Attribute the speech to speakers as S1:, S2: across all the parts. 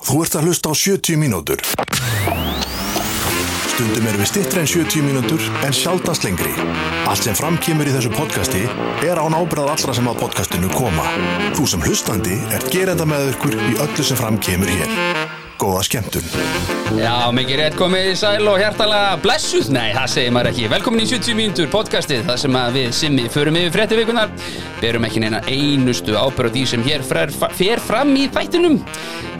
S1: Þú ert að hlusta á 70 mínútur. Stundum erum við stittri en 70 mínútur en sjaldast lengri. Allt sem framkýmur í þessu podcasti er án ábyrðað allra sem að podcastinu koma. Þú sem hlustandi ert gerenda með ykkur í öllu sem framkýmur hér. Góða skemmtun.
S2: Já, mikið rétt komið í sæl og hjertalega blessuð, nei það segir maður ekki Velkomin í 70 mínútur podcastið, það sem að við simmi förum yfir fréttavikunar Berum ekki neina einustu ábyrð á því sem hér fer, fer fram í þættinum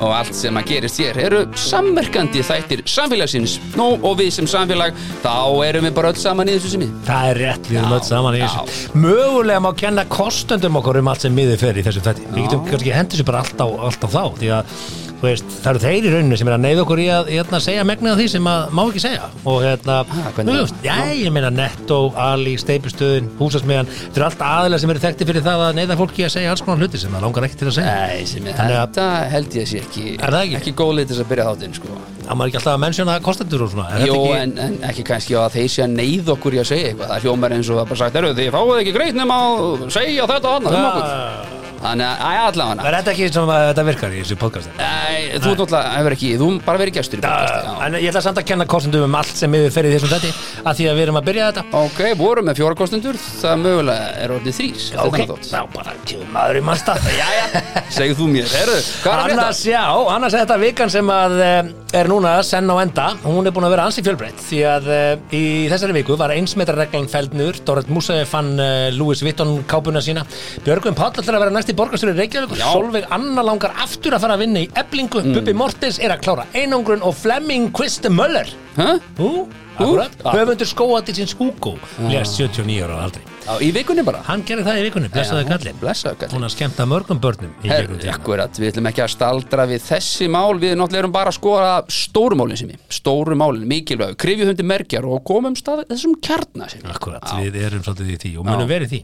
S2: Og allt sem að gerist hér eru samverkandi þættir samfélagsins Nú og við sem samfélag, þá erum við bara öll saman í þessu simmi
S3: Það er rétt, við
S2: Já,
S3: erum öll saman í
S2: já.
S3: þessu Mögulega má kenna kostendum okkur um allt sem miður fer í þessu þætti Við getum kannski hendur sér bara allt á, allt á þá Því að þú veist, það eru þeir í rauninu sem er að neyða okkur í að hérna, segja megnið af því sem að má ekki segja Og hérna,
S2: Ha,
S3: þú
S2: Ah, hvernig?
S3: veist, já, ég meina Netto, Ali, Steipustöðin, Húsasmiðan Þetta eru allt aðilega sem eru þekkti fyrir það að neyða fólki að segja alls konar hluti sem það langar ekki til að segja
S2: Nei, simmi,
S3: Þannig að-
S2: þetta held ég að sé ekki
S3: Er það ekki?
S2: Ekki góð leið til þess að byrja þáttinn, sko
S3: Það maður ekki alltaf að mennsjóna kostendur og svona er þetta
S2: Jó,
S3: ekki-
S2: en, en ekki kannski að þeir sé að neyð okkur í að segja eitthvað Það hljómar eins og það er bara sagt, eru þið fáið ekki greit nema að segja þetta og annað um okkur
S3: Ah,
S2: Þannig að, að allavega
S3: Er þetta ekki sem að þetta virkar í þessu podcasti?
S2: Nei, þú náttúrulega hefur ekki, þú bara verið gestur í
S3: Já,
S2: podcasti já.
S3: En ég ætla samt að kenna kostendum um allt sem miður fer í þessum þetta að því að við erum að byrja þetta
S2: Ok, vorum með fjóra kostendur, það mögulega er orðið þrýs
S3: þá bara kemur maður í mann stað
S2: Jæja, segðu þú mér, herru, hvað er
S3: Annars,
S2: þetta?
S3: já, annars er þetta vikan sem að eh, er núna senn á enda hún er búin að vera ansi fjölbreytt því að eh, í þessari viku var einsmetrarreglan feldnur, Dorrit Musaði fann eh, Louis Vuitton kápuna sína Björgvin Páll ætlar að vera næst í borgarstjóri Reykjavíkur
S2: Já.
S3: Solveig Anna langar aftur að fara að vinna í eblingu, Bubi Mortens er að klára einangrun og Flemming Kviste Möller
S2: Hæ?
S3: Hú, akkurat, höfundur skóa til síns Hugo
S2: Ah.
S3: lest 79 ára á aldri
S2: Já, í vikunni bara
S3: Hann gerði það í vikunni, blessaði kallinn
S2: Blessaðu kallinn
S3: Hún að skemmta mörgum börnum í
S2: Herru,
S3: gegnum tíma
S2: akkurat, við ætlum ekki að staldra við þessi mál, við náttúrulega erum bara að skoða stórumálinn sem ég, stórumálinn, mikilvæg, krifjuhundi merkjar og komum stað þessum kjarna sem
S3: Akkurat, við erum svolítið í því og munum verið í því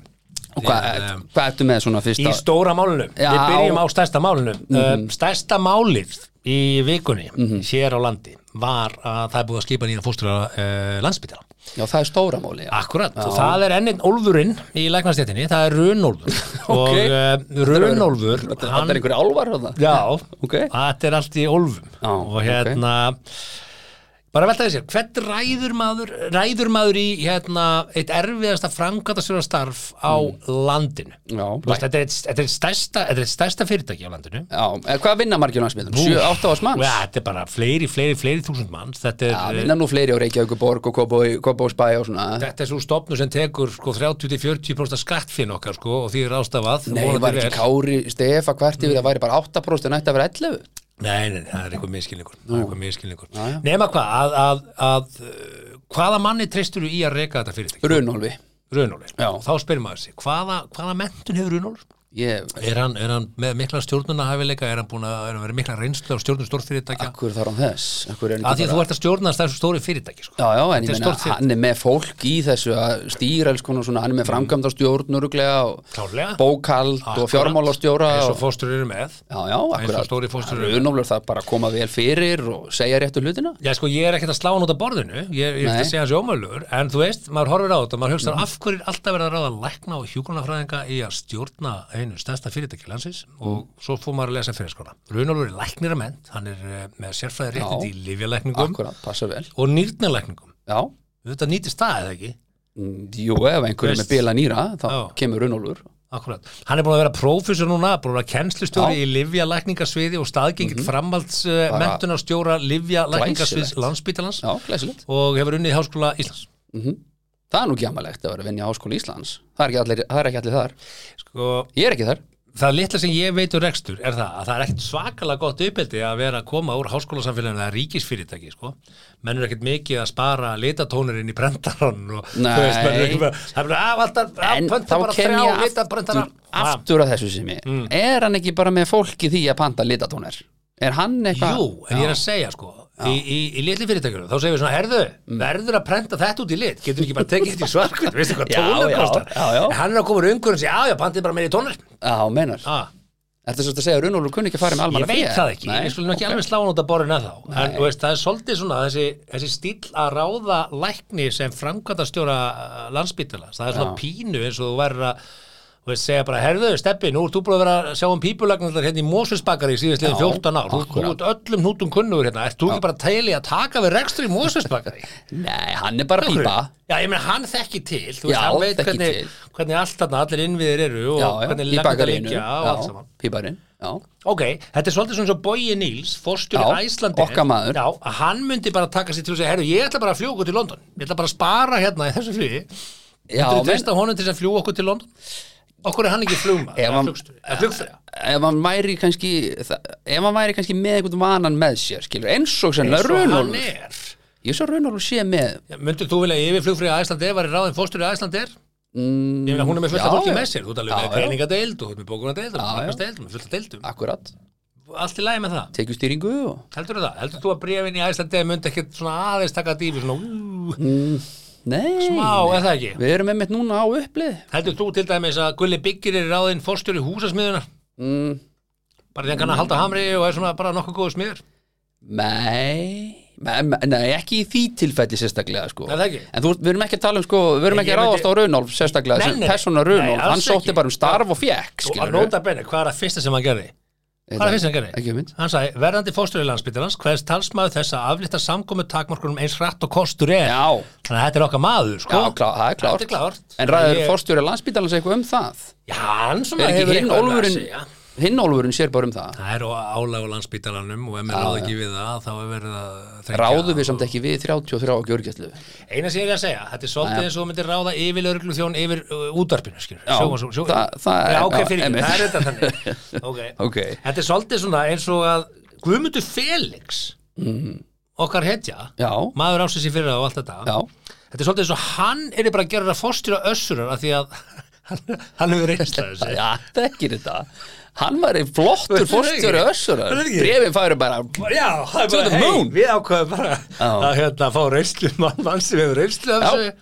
S2: Og hvað
S3: Við,
S2: hva, hva ertu með svona
S3: eh, Í
S2: fyrsta?
S3: stóra málunum,
S2: Já. Mhm.
S3: við byrjum á stærsta málunum mm. Stærsta málið í vikunni hér á landi var að það er búið að skipa nýja fóstur á uh, landsbytala
S2: Já, það er stóramáli, já.
S3: Akkurat, og það er enninn Ólfurinn í læknastjættinni, það er Runólfur og
S2: Ok.
S3: uh, Runólfur
S2: Þetta
S3: hann-
S2: þetta er einhverju álvar á það?
S3: Já,
S2: Ok.
S3: þetta er allt í ólfum
S2: Já,
S3: og hérna bara veltaði sér, hvern ræður maður ræður maður í hérna eitt erfiðasta framkvæmtastjóra starf á
S2: Mm.
S3: landinu
S2: Já,
S3: Þú veist, þetta, er eitt, þetta, er eitt stærsta, þetta er eitt stærsta fyrirtæki á landinu
S2: Já, eða hvað vinna margir landsmiðum? 7-8 ás manns?
S3: Já, þetta er bara fleiri, fleiri, fleiri þúsund manns þetta
S2: Já,
S3: er,
S2: vinna nú fleiri á Reykjavíkuborg og Kópásbæ og svona
S3: þetta er svo stopnu sem tekur sko, 30-40% skattfinn okkar sko, og því er ástafað
S2: Nei,
S3: vonandi
S2: var ekki
S3: vel.
S2: Kári Stefa hvert yfir
S3: Mm.
S2: það væri bara 8% en ætti að vera 11
S3: Nei, nei, nei, það er eitthvað miskilningur, það er eitthvað miskilningur. Nema hvað, að, að, að uh, hvaða manni treystur í að reka þetta fyrirtæki?
S2: Runolfi
S3: Runóli.
S2: Já.
S3: Þá spyrir maður sig, hvaða, hvaða mentun hefur Runól?
S2: Ég,
S3: Er hann, er hann með mikla stjórnuna hæfileika, er hann búin að, er hann verið mikla reynslu á stjórnum stórfyrirtækja?
S2: akkur þar á þess Akkur er hann
S3: Að
S2: ekki
S3: því að þú ert að stjórna þessu stóri fyrirtæki, sko.
S2: Já, já, en ég
S3: Þetta
S2: meina,
S3: er stórt fyrirtæki. Mm.
S2: hann er með fólk í þessu að stýra alls konar svona, hann er með framkvæmdastjórn öruglega og
S3: Klárlega.
S2: bókald og
S3: Akkurat.
S2: fjármálastjóra
S3: Eins og
S2: og,
S3: fóstur eru með.
S2: Já, já, akkurat
S3: stóri
S2: Hann
S3: fóstjóri.
S2: er unoflur það bara að koma vel fyrir og segja réttu hlutina
S3: Já, sko, ég er ekkert að slá hann út af borðinu, ég, ég er
S2: Nei. Mhm.
S3: ekkert að segja hans ómöðlur, en þú veist, maður horfir á þetta, maður hugsa af hverju er alltaf verið að ráða lækna og hjúkunarfræðinga í að stjórna einu stærsta fyrirtæki landsins
S2: Mhm.
S3: og svo fór maður að lesa fyrir skona. Runalur er læknir að mennt, hann er eh, með sérfræði
S2: Já.
S3: réttindi í lifjalækningum
S2: Akkurat, passa vel
S3: og nýrnalækningum.
S2: Já,
S3: Þetta nýtist það eða ekki?
S2: Mm, jú, ef einhver er
S3: Veist.
S2: með bila nýra þá
S3: Já.
S2: kemur unoflur
S3: Akkurat. Hann er búin að vera prófessor núna, búin að vera kennslustjóri
S2: Já. Mhm.
S3: í lifjalækningasviði og staðgengið mm -hmm.
S2: Bara-
S3: framhaldsmentunarstjóra lifjalækningasviðs
S2: Glæsilegt.
S3: landsbítalans
S2: Já, glæsilegt
S3: og hefur unnið í Háskóla Íslands.
S2: Það er nú gjamalegt að vera að vinja Háskóla Íslands það er, ekki allir, það er ekki allir þar
S3: Sko,
S2: Ég er ekki þar
S3: það litla sem ég veit um rekstur er það að það er ekkert svakalega gott uppeldi að vera að koma úr háskólasamfélaginu eða ríkisfyrirtæki sko. menn er ekkert mikið að spara litatónurinn í brendarann og
S2: Nei.
S3: þú veist, menn er ekki bara það er bara að alltaf, að
S2: En þá
S3: pönta bara
S2: kem
S3: þrjá
S2: ég aftur,
S3: litabrendarann aftur
S2: aftur að þessu sem ég
S3: Mm.
S2: Er hann ekki bara með fólk í því að panta litatónar? Er hann eitthvað?
S3: Jú, en ég er að segja sko í, í, í litli fyrirtækjunum, þá segir við svona herðu,
S2: Mm.
S3: verður að prenta þetta út í lit getur ekki bara tekið þetta í svarkvöld, veistu hvað
S2: Já,
S3: tónur
S2: já,
S3: kostar
S2: já, já.
S3: En hann er að koma úr ungur og segja, já, já, pantið bara meira í tónur
S2: Já, meinar
S3: ah.
S2: Ertu svo að segja að Runolfur kunni ekki að fara með
S3: Ég
S2: almanna
S3: veit það ekki, ég skulum ekki alveg slá hann út að borðin að þá En þú veist, það er svolítið svona þessi, þessi stíl að ráða uh, lækni sem framkvæmtastjóra landsbytala Það er svona pínu eins og þú verður að og þeir segja bara, herðu, steppi, nú ert þú búin að vera að sjá um pípulagnar hérna í Mósusbakari síðastliðin
S2: Já,
S3: 14 ár, þú- þú
S2: akkurat.
S3: ert öllum nútum kunnugur hérna, ert þú ekki bara til í að taka við rekstur í Mósusbakari?
S2: Nei, hann er bara pípa
S3: Já, ég meina, hann þekki til, þú veist,
S2: Já,
S3: hann veit
S2: þekki
S3: hvernig,
S2: til.
S3: hvernig allt þarna, allir innviðir eru og
S2: Já, já,
S3: hvernig
S2: í
S3: lagnar
S2: bakarinu
S3: liggja og allt saman.
S2: Píparinn, já
S3: Ok, þetta er svolítið svona svo Bogi Níls,
S2: Já,
S3: fórstjóri Æslandi
S2: okkar maður.
S3: Já, að hann myndi bara taka sér til að segja Herru, ég ætla bara að fljúa okkur til London Ég ætla bara að spara hérna í þessu flugi
S2: Já,
S3: Þú
S2: menn-
S3: treysta honum til þess að fljúa okkur til London Okkur er hann ekki flugma
S2: Ef hann-
S3: Flugstjóri
S2: ef hann væri kannski þa- ef hann væri kannski með einhvern vanan með sér skilur, eins og sennilega Runolf
S3: er
S2: ég svo Runolf sé með
S3: Já, Myndir þú vilja að yfirflugfrið Æslandi var í ráðin fórstjóri Æslandi er? Mm, ég meina, hún er með fullt af
S2: já,
S3: fólki
S2: já.
S3: með sér Þú ert alveg
S2: Já,
S3: með
S2: já.
S3: greiningadeild og þú ert með bókunadeild og
S2: Já, já.
S3: markasdeild, með fullt af deildum.
S2: akkurat,
S3: Allt í lagi með það.
S2: tekjustýringu og
S3: Heldurðu það? Heldur þú að bréfin í Æslandi myndi ekkert svona aðeins taka dýfi svona, ú,
S2: nei,
S3: smá, er það ekki?
S2: við erum einmitt núna á upplið
S3: Heldur þú til dæmis að Gulli Byggir er ráðinn fórstjóri húsasmiðuna?
S2: mm,
S3: Bara því hann kann að halda hamri og er svona bara nokkuð góðu smiður?
S2: nei me- me- Nei, ekki í því tilfelli sérstaklega sko.
S3: Nei, það ekki.
S2: En þú, við erum ekki að tala um sko, Við erum
S3: Nei,
S2: ekki
S3: ég
S2: að ráðast á
S3: myndi-
S2: Runolf sérstaklega
S3: Nei,
S2: sem
S3: nei, nei.
S2: persóna
S3: Nei,
S2: Runolf,
S3: alls
S2: hann sótti
S3: ekki.
S2: bara um starf og fjekk
S3: Og að nota benni, hvað er að fyrsta sem hann gerði? Hvað um er að fyrsta sem hann gerði?
S2: Ekki hugmynd.
S3: Hann sagði, verðandi fórstjóri landsbytjarans, hverst talsmaður þess að aflita samkomu takmarkunum eins hratt og kostur er?
S2: Já,
S3: Þannig að þetta er okkar maður, sko.
S2: Já, klá, það er klárt.
S3: Þetta er klárt.
S2: En ræður
S3: Ég-
S2: fórstjóri landsbítalans eitthvað um það?
S3: Já, hann svona
S2: Er ekki
S3: hefur
S2: hinn
S3: eitthvað að
S2: Ólfurinn,
S3: segja.
S2: hinn Ólfurinn sér bara um það?
S3: Það er á álæg á landsbytjaranum og ef mér ráð ekki við það, þá er verið að þrengja
S2: Ráðu
S3: að-
S2: við samt ekki við 33 á gjörgjæslu?
S3: Eina sem ég er að segja, þetta er svolítið eins og þú myndir ráða yfir lögreglu þjón yfir uh, útarpinu, skilur
S2: Já, það- það er-
S3: Já, ok,
S2: já,
S3: fyrir ekki,
S2: einmitt.
S3: það er þetta þannig okay.
S2: Ok.
S3: Þetta er svolítið svona eins og að Guðmundur Felix okkar hetja,
S2: Mhm. Já,
S3: maður ásins í fyrra og allt þetta
S2: já,
S3: Þetta er svolítið eins og hann er bara að gera að fórstýra össurar af því að hann, hann hefur reynsla þessi
S2: já, það er ekki þetta. Hann var einn flottur
S3: Veistu
S2: fórstjóri
S3: það ekki?
S2: össurar.
S3: Það er ekki.
S2: Brefin færi bara,
S3: Já, það er
S2: To
S3: bara,
S2: the
S3: hey,
S2: moon.
S3: við ákveðum bara
S2: Já.
S3: að hérna, fá reynslu mann, mann sem hefur reynslu af
S2: já,
S3: þessu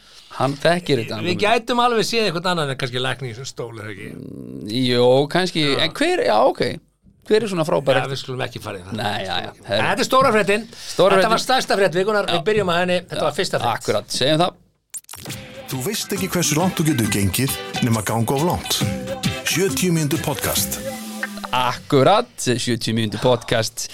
S2: hann þekkir þetta.
S3: Við gætum alveg séð einhvern annan en kannski lækni í þessum stólu, er það ekki?
S2: Jó, kannski, en hver, já, ok. Hver er svona frábær?
S3: Já, við skulum ekki fara í það.
S2: Nei, já, já.
S3: En
S2: herru,
S3: Þetta er stóra fréttin.
S2: Stóra
S3: Þetta var
S2: fréttin.
S3: stærsta frétt vikunar. Við byrjum að henni. Þetta var fyrsta frétt.
S2: Akkurat, segjum það.
S1: Þú veist ekki hversu langt þú getur gengið nema ganga of langt. 70 mínútur podcast.
S2: Akkurat, 70 mínútur podcast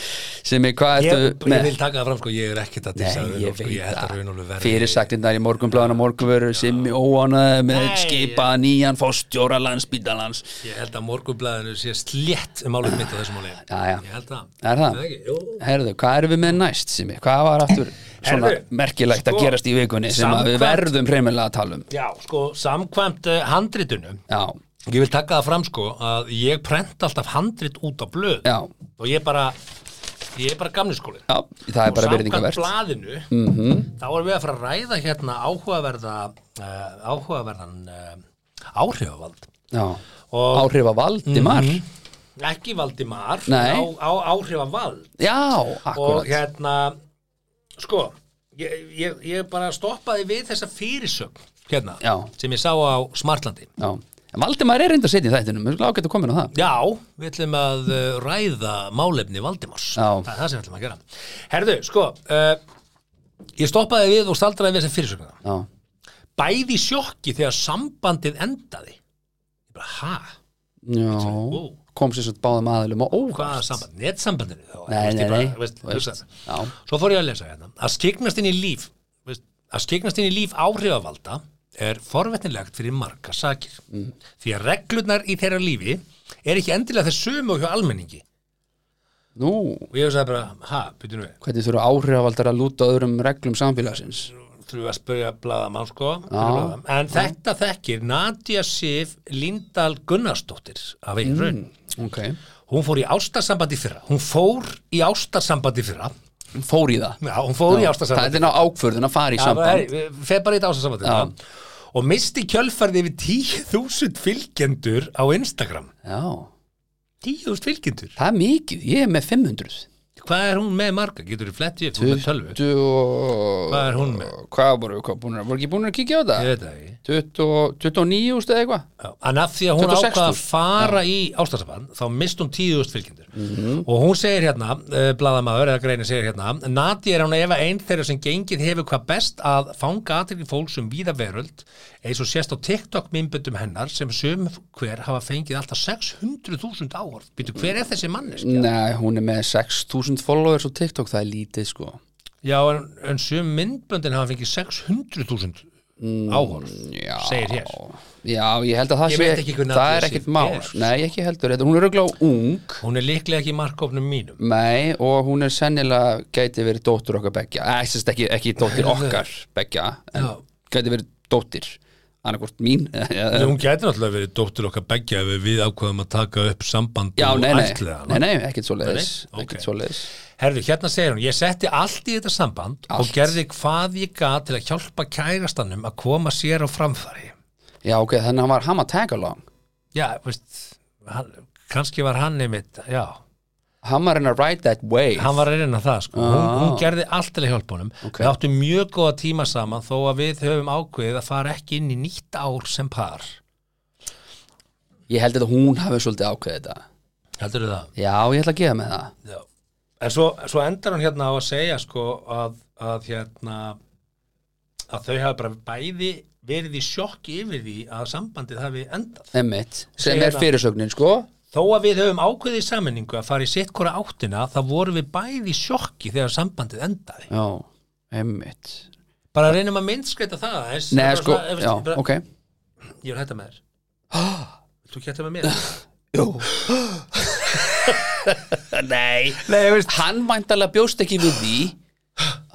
S2: sem er hvað
S3: Ég,
S2: ertu
S3: ég vil taka það fram, sko, ég er ekkert að dissa
S2: Nei, ég
S3: Runólf, sko,
S2: veit
S3: ég held að Runólu
S2: það
S3: verði.
S2: Fyrirsagninnar í morgunbláðan og morgunvöru sem óanaði með
S3: Nei.
S2: skipa nýjan fórstjóra landsbítalans
S3: Ég held að morgunblæðinu sé slétt um álið mitt á þessum áli.
S2: Jæja.
S3: Ég held það.
S2: Er það?
S3: Er ekki? Jú.
S2: Herðu, hvað erum við með næst Simi? Hvað var aftur svona
S3: Herðu,
S2: merkilegt
S3: sko,
S2: að gerast í vikunni sem að við
S3: samkvæmt-
S2: verðum preymilega að tala um
S3: Já, sko, samkvæmt uh, handritunum.
S2: Já,
S3: Ég vil taka það fram, sko, að ég prent alltaf handrit út á blöð.
S2: já,
S3: Og ég bara, ég er bara gamli skólinn.
S2: já, það er bara
S3: Og
S2: verðingavert
S3: samkvæmt blaðinu,
S2: Mhm.
S3: þá erum við að fara að ræða hérna áhugaverða, uh, áhugaverðan uh, áhrifavald.
S2: Já,
S3: Og Mhm.
S2: áhrifa Valdimar
S3: ekki Valdimar,
S2: Nei.
S3: á, á áhrifavald.
S2: Já,
S3: Og
S2: akkurat
S3: hérna, sko, ég, ég, ég bara stoppaði við þessa fyrirsögn hérna,
S2: Já.
S3: sem ég sá á Smartlandi.
S2: Já, en Valdimar er reynda að setja í þættinum Við skulum ágætt að koma inn á það
S3: Já, við ætlum að uh, ræða málefni Valdimars.
S2: Já.
S3: Það er það sem við ætlum að gera. Herðu, sko, uh, ég stoppaði við og staldraði við þessa fyrirsögnuna.
S2: Já,
S3: bæði í sjokki þegar sambandið endaði ég bara, ha,
S2: já,
S3: wow.
S2: kom sér svo báðum aðilum og
S3: hvaða
S2: óvart
S3: samband netsambandinu þá,
S2: Nei, nei, nei,
S3: veist,
S2: þú veist,
S3: veist.
S2: já,
S3: svo fór ég að lesa hérna að skiknast inn í líf veist, að skiknast inn í líf áhrifavalda er forvetnilegt fyrir marga sakir
S2: Mm.
S3: því að reglurnar í þeirra lífi er ekki endilega þess sömu og hjá almenningi
S2: nú,
S3: og ég hugsaði bara, ha, byrjum við
S2: hvernig þurfa áhrifavaldar að lúta öðrum reglum samfélagsins
S3: þurfum við að spyrja blaðamann sko en þetta þekkir Nadia Sif Lindahl Gunnarsdóttir af
S2: Mm.
S3: einn raun
S2: ok,
S3: hún fór í ástarsambandi fyrra hún fór í ástarsambandi fyrra
S2: fór í það
S3: já, hún fór í
S2: það
S3: ástarsambandi
S2: er ná ákvörðun að fara í samband
S3: feð bara í þetta ástarsambandi fyrra og misti kjölfærði yfir 10.000 fylgjendur á Instagram
S2: já,
S3: 10.000 fylgjendur
S2: það er mikið, ég er með 500
S3: Hvað er hún með marga? Getur þú flett ég? Hún er með tölvu.
S2: 20 og...
S3: Hvað er hún með?
S2: Hvað voru, hvað búin að, voru ekki búin að kíkja á þetta?
S3: Ég veit það ekki.
S2: 20 29 úrst eða eitthvað?
S3: Já, En af því að hún
S2: 26
S3: ákvað að
S2: þúsund.
S3: fara í ástarsamband þá mist hún tíðust fylgjendur og hún segir hérna, uh, bladamaður eða greinin segir hérna, Nati er hún efa einn þeirra sem gengið hefur hvað best að fanga aðtekli fólk sem víða veröld eins og sést á TikTok minnböndum hennar sem sum hver hafa fengið alltaf 600.000 áhorf. Býtu, hver er þessi mannesk?
S2: Nei, hún er með 6000 followers á TikTok, það er lítið sko.
S3: Já, en, en sum myndböndin hafa fengið 600.000 áhorf,
S2: Já.
S3: segir hér.
S2: Já, ég held að það
S3: Ég
S2: sé,
S3: veit ekki hvernig
S2: það
S3: allir
S2: er
S3: sé
S2: ekkit mál.
S3: er.
S2: Nei, ekki heldur, þetta, hún er auðvitað ung,
S3: Hún er líklega ekki í markofnum mínum.
S2: nei, og hún er sennilega, gæti verið dóttur okkar beggja, Eh, sem sagt ekki, ekki dóttir okkar beggja, en
S3: Já.
S2: gæti verið dóttir, annarkvort mín,
S3: En
S2: Eh,
S3: hún gæti náttúrulega verið dóttir okkar beggja ef við ákvaðum að taka upp samband
S2: Já,
S3: og
S2: nei, nei,
S3: ættleiða hana.
S2: nei, nei, ekkert svo leiðis,
S3: Nei, nei,
S2: ekkert
S3: ok.
S2: svo leiðis.
S3: Herðu, hérna segir hún, ég setti allt í þetta samband og
S2: Allt.
S3: gerði hvað ég gat til að hjálpa kærastannum að koma sér á framfæri.
S2: Já, ok, þannig að hann var hann að tag along.
S3: Já, veist, hann, kannski var hann einmitt, já,
S2: Hann var hann að ride that wave.
S3: hann var að reyna það, sko. Hún,
S2: Ah.
S3: hún gerði allt til að hjálpa honum.
S2: Ok.
S3: Við áttum mjög góða tíma saman þó að við höfum ákveðið að fara ekki inn í nýtt ár sem par.
S2: Ég held að hún hafi svolítið ákveðið þetta.
S3: Heldur þú það?
S2: Já, ég ætla að gefa með það.
S3: Já. En svo, svo endar hún hérna á að segja sko að, að hérna að þau hafa bara bæði verið í sjokki yfir því að sambandið hafi endað.
S2: Emmitt, sem
S3: Segir
S2: er
S3: það.
S2: fyrirsögnin, sko.
S3: Þó að við höfum ákveðið í sammenningu að fara í sitt hvora áttina þá vorum við bæði í sjokki þegar sambandið endaði.
S2: Já, emmitt.
S3: Bara reynum að myndskreita það aðeins.
S2: Nei,
S3: Bara
S2: sko,
S3: svona, ef-
S2: já,
S3: bara,
S2: ok.
S3: Ég vil hætta með þér. Vilt Þú geta með mér?
S2: Jú. Nei,
S3: Nei, ég veist.
S2: hann væntalega bjóst ekki við því.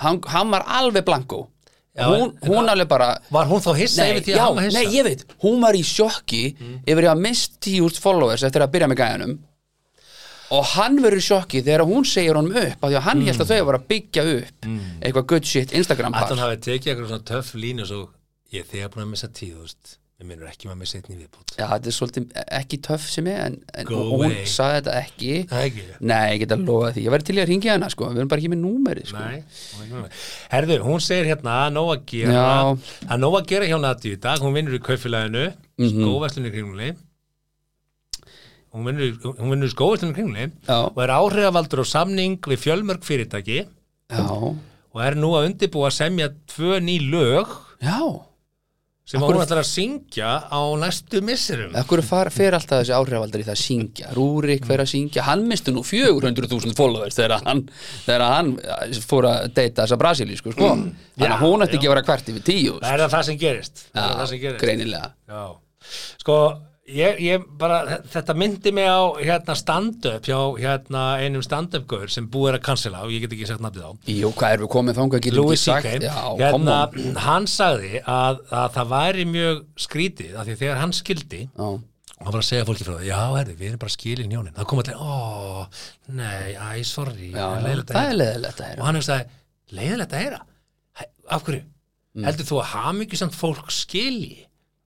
S2: Hann, hann var alveg blanko.
S3: Já,
S2: Hún,
S3: en-
S2: hún alveg bara,
S3: Var hún þá hissa
S2: Nei,
S3: yfir því að
S2: já,
S3: hann var hissa?
S2: nei, ég veit, hún var í sjokki yfir að mist tíust followers eftir að byrja með gæjanum og hann verður í sjokki þegar hún segir honum upp af því að hann held að þau var að byggja upp eitthvað good shit Instagram
S3: Mm. Að
S2: par
S3: hann hafi tekið eitthvað svona töff línu svo ég er þegar búin að missa tíðust ég minnur ekki maður að missa einnig viðbútt
S2: Já, þetta er svolítið ekki töff sem ég en, en
S3: Go
S2: og hún
S3: away.
S2: saði þetta ekki
S3: Það er ekki
S2: Nei, ég get að lofa því, ég verði til í að ringja hana sko, við erum bara ekki með númerið sko.
S3: Nei, hún er ekki með. Herðu, hún segir hérna að nóg að gera
S2: Já.
S3: að nóg að gera hjá Nati í dag, hún vinnur í kaufélaginu mm
S2: Mhm.
S3: -hmm. skóverslunni kringli hún vinnur, í- hún vinnur í skóverslunni kringli
S2: Já.
S3: og er áhrifavaldur á samning við fjölmörg fyrirtæki
S2: Já,
S3: og er nú að undibúa að semja tvö ný lög
S2: já
S3: sem hún ætlar að syngja á næstu misserum
S2: Akkur far, fer alltaf þessi áhrifaldar í það að syngja Rúrik fer að syngja, hann misti nú 400.000 followers þegar hann, þegar hann fór að deyta þessa brasilísku sko. þannig að
S3: Mm. Já,
S2: hún ætti
S3: já.
S2: ekki að vera hvert yfir tíu sko.
S3: Það er það sem gerist, það er það sem
S2: Já,
S3: gerist.
S2: greinilega
S3: Já, sko ég, ég bara, þetta myndi mig á hérna stand-up hjá hérna einum stand-up-gaur sem búið er að cancela og ég get ekki sagt nafnið á
S2: Jú, hvað erum við komið þangað, getum
S3: Louis
S2: við
S3: C.K.
S2: sagt Já,
S3: hérna,
S2: hérna,
S3: hann sagði að, að það væri mjög skrítið af því að þegar hann skildi
S2: já,
S3: hann var að segja fólki frá það, já, herri, við erum bara skilin hjónin það kom allir, ó, nei, æ, sorry
S2: já, já,
S3: er leiðilegt að
S2: það er
S3: heyra."
S2: leðilegt að
S3: og
S2: heyra
S3: hann hefði sagði, leiðilegt að heyra Hæ, af hverju,
S2: Mm.
S3: heldur þú að hamingjusamt fólk skilji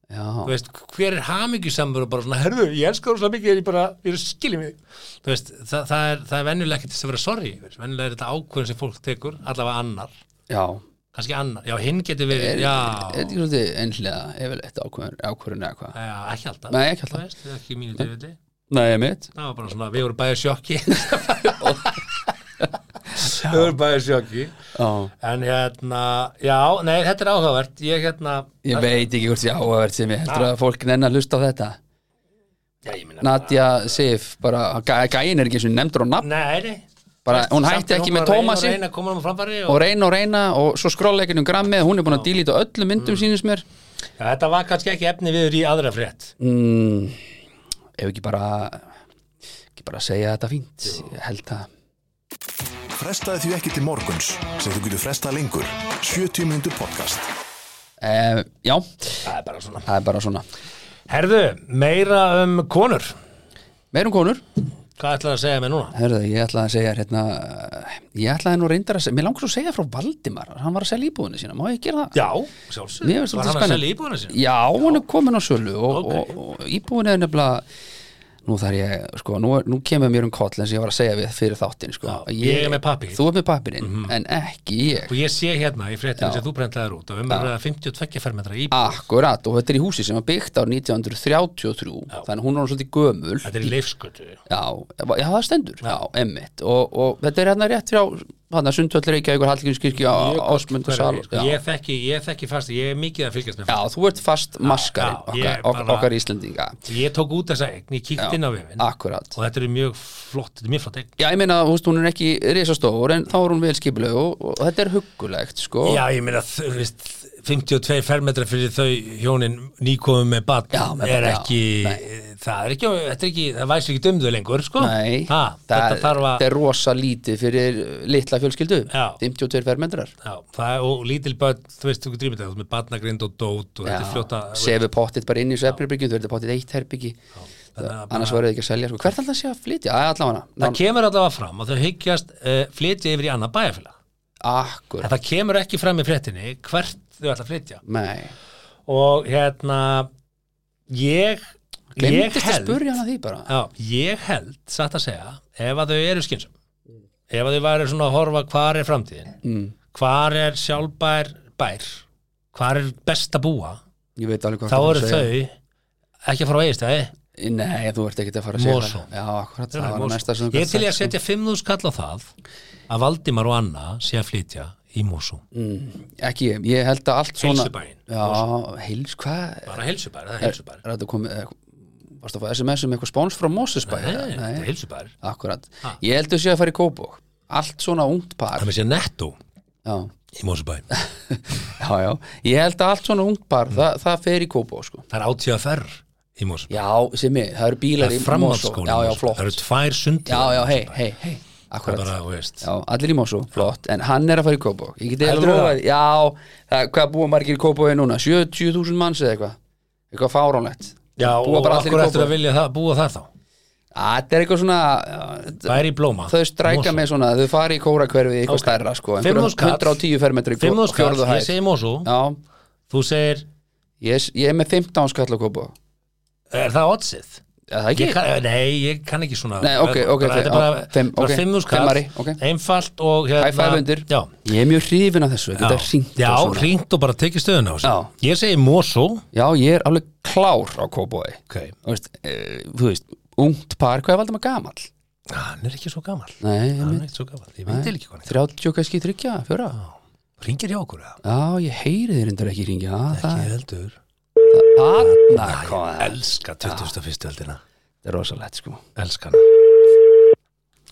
S3: þú
S2: Já,
S3: veist, hver er hamingjusamur og bara svona, herðu, ég elska þú svo mikið en ég bara, ég er skiljum mig þú veist, það, það er, það er venjulega ekki til þess að vera sorry yfir. venjulega er þetta ákvörðin sem fólk tekur allavega annar,
S2: já
S3: kannski annar já, hinn getur verið,
S2: Er er
S3: já,
S2: ekki svolítið einhlega yfirleitt ákvörðun ákvörðun eða hvað?
S3: já, ekki alltaf
S2: Nei, ekki alltaf.
S3: Þú veist, það er ekki mínu tilfelli,
S2: Nei, ég mitt
S3: það var bara svona, við vorum bæði sjokki við vorum bæði sjokki
S2: Já,
S3: en hérna, já, nei, þetta er áhugavert ég hérna,
S2: ég veit ekki hvort sé áhverð sem ég heldur að fólk nenn að hlusta á þetta
S3: Ah. já, ég minna
S2: Nadja Sif bara, gæ- gæin er ekki eins og nefndur á nafn
S3: nei, nei
S2: bara, hún
S3: Samt
S2: hætti
S3: er
S2: ekki
S3: bara
S2: með
S3: að reyna og
S2: Tómasi
S3: reyna að koma honum á framfæri og-
S2: og reyna og reyna og svo skrolla ekki um grammið hún er búin að dílita öllum myndum mm. sínus mér
S3: Já, þetta var kannski ekki efni viður í aðra frétt
S2: mm, ef ekki bara ekki bara segja þetta fínt ég held að
S1: Frestaði því ekki til morguns sem þú getur frestað lengur 70 mínútur podcast
S2: e, já,
S3: Það er bara svona
S2: það er bara svona
S3: Herðu, meira um konur
S2: meirum um konur,
S3: Hvað ætlar að segja mér núna?
S2: herðu, ég ætla að segja hérna, ég ætlaði nú reyndar að segja mér langar svo að segja frá Valdimar, hann var að selja íbúðinu sína má ég gera það?
S3: Já,
S2: Mér
S3: sjálfsög
S2: finnst
S3: Var
S2: svolítið
S3: hann að
S2: spennandi.
S3: selja íbúðuna sín?
S2: Já, hún er komin á sölu og,
S3: Ok.
S2: og, og íbúin er nefnilega nú þar ég, sko, nú, nú kemur mér um koll eins og ég var að segja við fyrir þáttin, sko
S3: Já,
S2: Að
S3: ég er með Mhm. pappírinn.
S2: Þú er með pappirinn, en ekki ég
S3: og ég sé hérna í fréttinu
S2: Já.
S3: sem þú brendlaðir út að við erum að 52 fermetra í
S2: Akkurat, og þetta er í húsi sem var byggt á 1933 þannig að hún er hún svolítið gömul
S3: þetta er í leifskötu
S2: Já, já, það stendur, já, emmitt og, og þetta er hérna rétt frá hérna sundvöldur Reykjavíkur Hallgrímskirkju á Ásmundarsal
S3: Hverfi, sko. ég þekki, ég þekki fast ég er mikið að fylgjast með
S2: Já, þú ert fast maskari
S3: já, ég
S2: okkar, okkar,
S3: bara-
S2: okkar Íslendinga
S3: fólki. ég tók út þessa eign, ég kíkt inn á vefin og
S2: Akkurat
S3: þetta er mjög flott, þetta er mjög flott eign
S2: Já, ég meina, þú veist, hún er ekki risastór en þá er hún vel skipuleg og, og þetta er huggulegt, sko
S3: já, ég meina, þú veist 52 fermetra fyrir þau hjónin nýkomum með batn
S2: Já, með
S3: er
S2: barn, já,
S3: ekki, það er ekki, þetta er ekki það væs ekki dömðu lengur, sko
S2: Nei,
S3: ha,
S2: það,
S3: þetta þarf
S2: þetta
S3: að
S2: er rosa lítið fyrir litla fjölskyldu
S3: Já.
S2: 52 fermendrar
S3: Já, það er, og lítil börn, þú veist, þú drýmið það, þú veist, með batnagrind og dót og þetta er fljóta
S2: Sefu pottið bara inn í svefnirbyggjum, þú verður pottið eitt herbyggi
S3: þannig að bara-
S2: annars verður þið ekki að selja, sko, hvert alltaf sé að flytja Æ, allavega,
S3: Það
S2: ná,
S3: kemur allavega fram að þau hyggjast uh, flytja yfir í annað bæjarfélag.
S2: akkur
S3: En það kemur ekki fram í fréttinni hvert þau ætla að flytja.
S2: Nei,
S3: og hérna ég ég
S2: glemdist að
S3: held
S2: spurja hana því bara
S3: já, ég held, satt að segja ef að þau eru skynsum ef að þau væri svona að horfa hvar er framtíðin
S2: mm,
S3: hvar er sjálfbær bær hvar er best að búa
S2: Ég veit alveg hvað
S3: þá
S2: þú
S3: eru
S2: að segja.
S3: þau ekki að fara á eigistæði
S2: Nei, þú ert ekki að fara að segja
S3: Mosó.
S2: það. Já, akkurat, það var næsta sem þú
S3: ég
S2: gast
S3: til ég
S2: sagt,
S3: að
S2: sko.
S3: setja 5.000 kall á það að Valdimar og Anna sé að flytja í Mosó
S2: mm, Ekki, ég, ég held að allt svona
S3: Heilsubæinn.
S2: Já, heils, hvað
S3: bara helsubær, það er
S2: er,
S3: helsubær
S2: er þetta komið eh, varstu að fá SMS um eitthvað spóns frá Mosesbæ
S3: Nei, þetta er
S2: nei,
S3: helsubær
S2: akkurat
S3: Ha.
S2: ég held að sé að fara í Kóbók, allt svona ungt par
S3: það með sér netto
S2: já,
S3: í Mosó
S2: já, já, ég held að allt svona ungt
S3: Mm.
S2: par það, það fer í Kóbók, sko
S3: Það er átíðaferr í Mosó.
S2: já, sem ég, það eru
S3: Það
S2: bílar
S3: er
S2: í Mosó
S3: framhaldsskóli.
S2: já,
S3: í
S2: já,
S3: Mosó.
S2: flott,
S3: Það eru tvær sundir.
S2: já, já, hei, hei, hei
S3: Það er
S2: akkurat,
S3: bara, þú veist.
S2: já, allir í Mosó, flott en hann er að fara í Kóbók, ég geti
S3: Heldurðu það?
S2: lofað- já, það, hvað búa margir í Kóbói núna 70.000 manns eða eitthvað eitthvað fáránlegt
S3: Já,
S2: búa
S3: og
S2: bara allir í
S3: akkur eftir að
S2: Kóbói
S3: vilja það, búa þar þá.
S2: það er eitthvað svona já,
S3: Það er í blóma.
S2: þau stræka með svona, þau fari í kórakverfi eitthvað
S3: Ok.
S2: stærra sko,
S3: Fimm
S2: einhverjum
S3: þúsund kall.
S2: 110 fermetri í
S3: Fimm
S2: kó-
S3: og skall,
S2: fjórðu
S3: ég
S2: hæð.
S3: segi Mosó.
S2: Já,
S3: Þú segir,
S2: ég, s- ég er með 15 skall að kópa
S3: er það oddsið?
S2: Er það
S3: Ég
S2: ekki?
S3: kann, nei, ég kann ekki svona.
S2: Nei, ok, ok,
S3: Bara- Þetta er
S2: ok,
S3: bara,
S2: á, fimm,
S3: bara
S2: ok,
S3: fimm og skall.
S2: fimmari, ok.
S3: Einfalt og hérna.
S2: High five undir.
S3: Já.
S2: Ég er mjög hrifin af þessu,
S3: Já,
S2: þetta er hringt
S3: já
S2: og svona
S3: hringt og bara tekið stöðuna á
S2: Já.
S3: sig. Ég segi Mosó.
S2: Já, ég er alveg klár á kópaði
S3: Ok,
S2: Þú veist, eh, þú veist, ungt par, hvað er valdum að gamall?
S3: hann er ekki svo gamall.
S2: Nei, ég
S3: Hann er
S2: mynd,
S3: ekki svo gamall. Ég veit ekki hvað hann er.
S2: 30 kannski tryggja, fjóra
S3: Ringir hjá okkur, eða?
S2: Já, ég heyri þér endur ekki ringja Það Ah,
S3: Ekki heldur.
S2: Þarna kom það.
S3: elska 21.
S2: Þetta
S3: öldina
S2: er rosalegt sko
S3: elska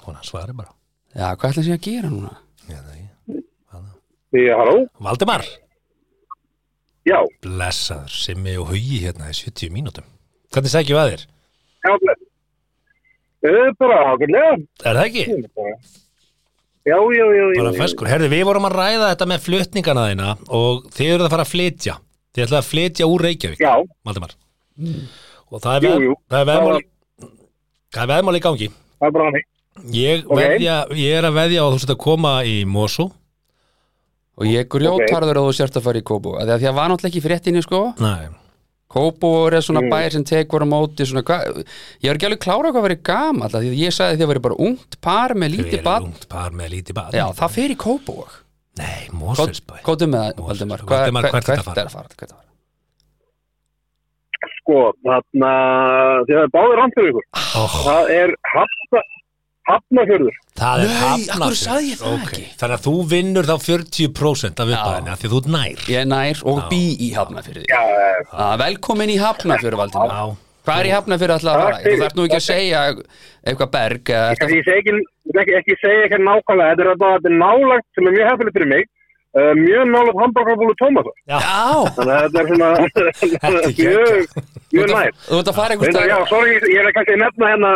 S3: hana hún svari bara
S2: Já, hvað ætla sér að gera núna?
S3: Já, það er ég.
S4: Já, halló?
S3: Valdimar,
S4: Já,
S3: blessaður Simmi og Hugi hérna í 70 mínútum hvernig sækjum við að þér?
S4: já, bless. Eh, Bara ákveðlega.
S3: Er það ekki?
S4: Já, já, já, já.
S3: Bara feskur, herði við vorum að ræða þetta með flutningana þína og þið eruð að fara að flytja þið ætlaði að flytja úr Reykjavík
S4: Já,
S3: Valdimar og það er,
S4: Jú,
S3: veð-
S4: jú.
S3: það er veðmál
S4: Það var-
S3: það er veðmál í gangi
S4: það er bara hann.
S3: ég,
S4: Ok.
S3: veðja, ég er að veðja og þú sett að koma í Mosó
S2: Og ég grjótarður að þú sért að fara í Kóbo að því að því að var náttúrulega ekki í fréttinni sko
S3: Nei.
S2: Kóbo er svona
S3: Mm.
S2: bæir sem tekur á móti svona, hva, ég er ekki alveg klára hvað verið gamall af því að ég sagði því að verið bara ungt par með
S3: Þið
S2: lítið
S3: eruð
S2: barn
S3: ungt par með lítið bad
S2: Já, það fer í Kóbo
S3: Nei, Moselsbæ
S2: Kóttum með það,
S3: Mosfellsbæ.
S2: Valdimar Hva-
S3: Valdimar,
S2: hva-
S3: hvert
S2: hvert
S3: ertu að
S2: er
S3: fara?
S2: að fara? Hvert er að fara?
S4: Sko, þarna, þið hafið báðir rann fyrir ykkur.
S3: oh.
S2: Ah.
S4: Það er hafna, hafnafjörður.
S3: Það er
S2: Nei,
S3: hafnafjörður.
S2: af hverju sagði ég það
S3: Ok,
S2: ekki?
S3: Þannig að þú vinnur þá 40% af uppæðinni af því að þú ert nær
S2: Ég er nær og bý í Hafnafjörði
S4: Já, eh,
S2: Ah, Velkomin í Hafnafjörði, Valdimar
S3: Já,
S2: Hvað er í Hafnafjörði alltaf að
S4: Takk
S2: fara? Þú
S4: fyrir.
S2: þarf nú ekki að segja eitthvað berg eða ertu að-
S4: Ég segi ekki, ekki, ekki segja eitthvað nákvæmlega. Þetta er þetta, þetta er nálagt sem er mjög hefðilegt fyrir mig. Uh, mjög nálagt hambúrgarbúlu Tómasar.
S2: Já,
S4: Þannig að þetta er svona
S3: Þetta er
S4: mjög, mjög nært.
S2: þú ert að fara einhvers
S4: Reyndar, já,
S2: staðar-
S4: sorry, ég er kannski að nefna hérna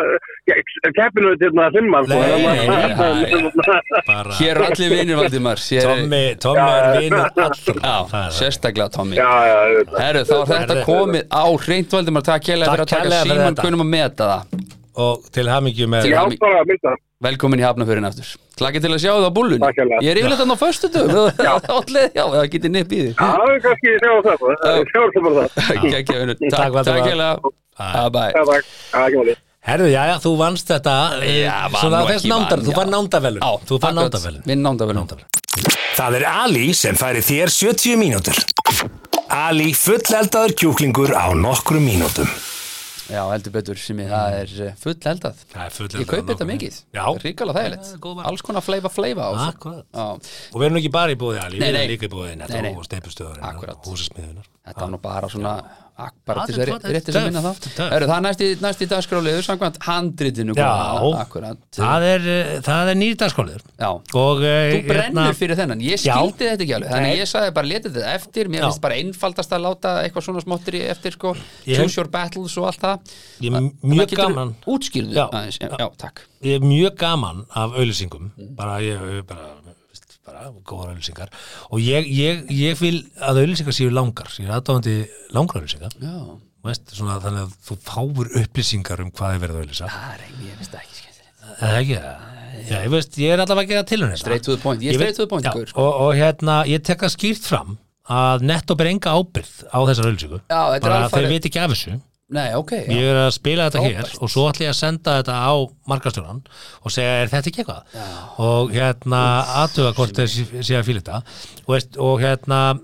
S4: eh, keppinu til hérna þimman sko,
S3: Nei,
S4: það var-
S3: nei, nei. bara
S2: Hér eru allir vinir, Valdimar Hér er-
S3: Tommy, Tommy er vinur allra
S2: Já,
S3: Það er-
S2: sérstaklega Tommy
S4: Já, já, auðvitað.
S2: Herru, þá er þetta
S3: Herru.
S2: komið á hreint Valdimar, takk kærlega
S3: Takk
S2: fyrir að taka
S3: kærlega fyrir
S2: síman
S3: þetta.
S2: kunum að meta það
S3: Og til hamingju með
S2: Til
S4: Já,
S2: hamingju.
S4: bara að mynda
S2: Velkomin í Hafnafjörðin aftur Klakið til að sjá það á búllunni
S4: Takk kærlega.
S2: Ég er yfirleitt hann á föstudum Já, það getið nipp í því
S4: Já, það er kannski sjá það sko, það er- sjáum það bara það
S2: Gekkja, vinur.
S3: Takk,
S2: Takk
S3: Valdimar.
S2: takk kærlega Bye bye
S4: Já, takk, Já, ekki máli
S3: Herðu, já, já, þú vannst þetta eh,
S2: Já, vann
S3: svona
S2: nú
S3: þess
S2: ekki
S3: nándar,
S2: vann,
S3: þú
S2: já.
S3: fann nándavelu
S2: Já,
S3: Þú fann
S2: akkurat.
S3: nándavelu
S2: Vinn nándavelu
S5: Það er Ali sem færi þér 70 mínútur. Ali fulleldaður kjúklingur á nokkrum mínútum.
S2: Já, heldur betur sem ég, það er eh, full eldað
S3: Mm. Það er full
S2: Ég kaupi þetta mikið,
S3: Já.
S2: ríkala
S3: Já,
S2: þægilegt
S3: góð vara.
S2: Alls konar fleifa fleifa á þessu.
S3: Akkurat.
S2: Já,
S3: Og við erum nú ekki bara í búði Ali,
S2: Nei,
S3: við
S2: nei.
S3: erum líka í búði
S2: Nei,
S3: Netto
S2: nei.
S3: og steipustöðurinn
S2: Akkurat.
S3: og húsasmiðunar
S2: Þetta var nú bara svona ak- bara
S3: Ah,
S2: til
S3: þetta
S2: þess
S3: er
S2: að
S3: flott,
S2: rétt
S3: þetta
S2: þess
S3: er
S2: að minna
S3: töff,
S2: þá
S3: þetta er töff.
S2: Eru það næst í, næst í dagskráliður samkvæmt handritinu
S3: Já,
S2: komið, akkurat
S3: það er, eh, það er nýri dagskóliður
S2: Já.
S3: Og eh,
S2: Þú brennur
S3: hérna-
S2: fyrir þennan, ég
S3: Já.
S2: skildi þetta ekki alveg Þannig
S3: Nei.
S2: að ég sagði bara letið þetta eftir Mér
S3: Já.
S2: finnst bara einfaldast að láta eitthvað svona smottir í eftir sko,
S3: Ég-
S2: Choose your battles og allt það
S3: Ég er
S2: Að-
S3: mjög
S2: að getur
S3: gaman.
S2: Útskýrðu
S3: Já.
S2: aðeins, já, já, takk
S3: ég er mjög gaman af auðlýsingum
S2: Mm.
S3: bara ég ég bara, veist, bara góðar auðlýsingar og ég, ég, ég vil að auðlýsingar séu langar ég er aðdáðandi langar auðlýsingar
S2: Já,
S3: veist, svona, þannig að þú fáur upplýsingar um hvað er verið að auðlýsa
S2: það er ekki, ég finnst það ekki skemmtilegt
S3: eða ekki það Já, ég, veist, ég er allavega að gera tilhörn
S2: Straight to the point, ég er straight to the point,
S3: já,
S2: gaur,
S3: og,
S2: sko.
S3: og hérna, ég tek það skýrt fram að netto ber enga ábyrð á þessar auðlýsingu
S2: Já, þetta er
S3: bara
S2: alfarið.
S3: þeir veit ekki af þessu
S2: Nei, ok, já.
S3: ég er að spila þetta
S2: Frábært.
S3: hér og svo ætla ég að senda þetta á markastjóran og segja er þetta ekki eitthvað og hérna aðtuga hvort þessi sé að fíla þetta og, veist, og hérna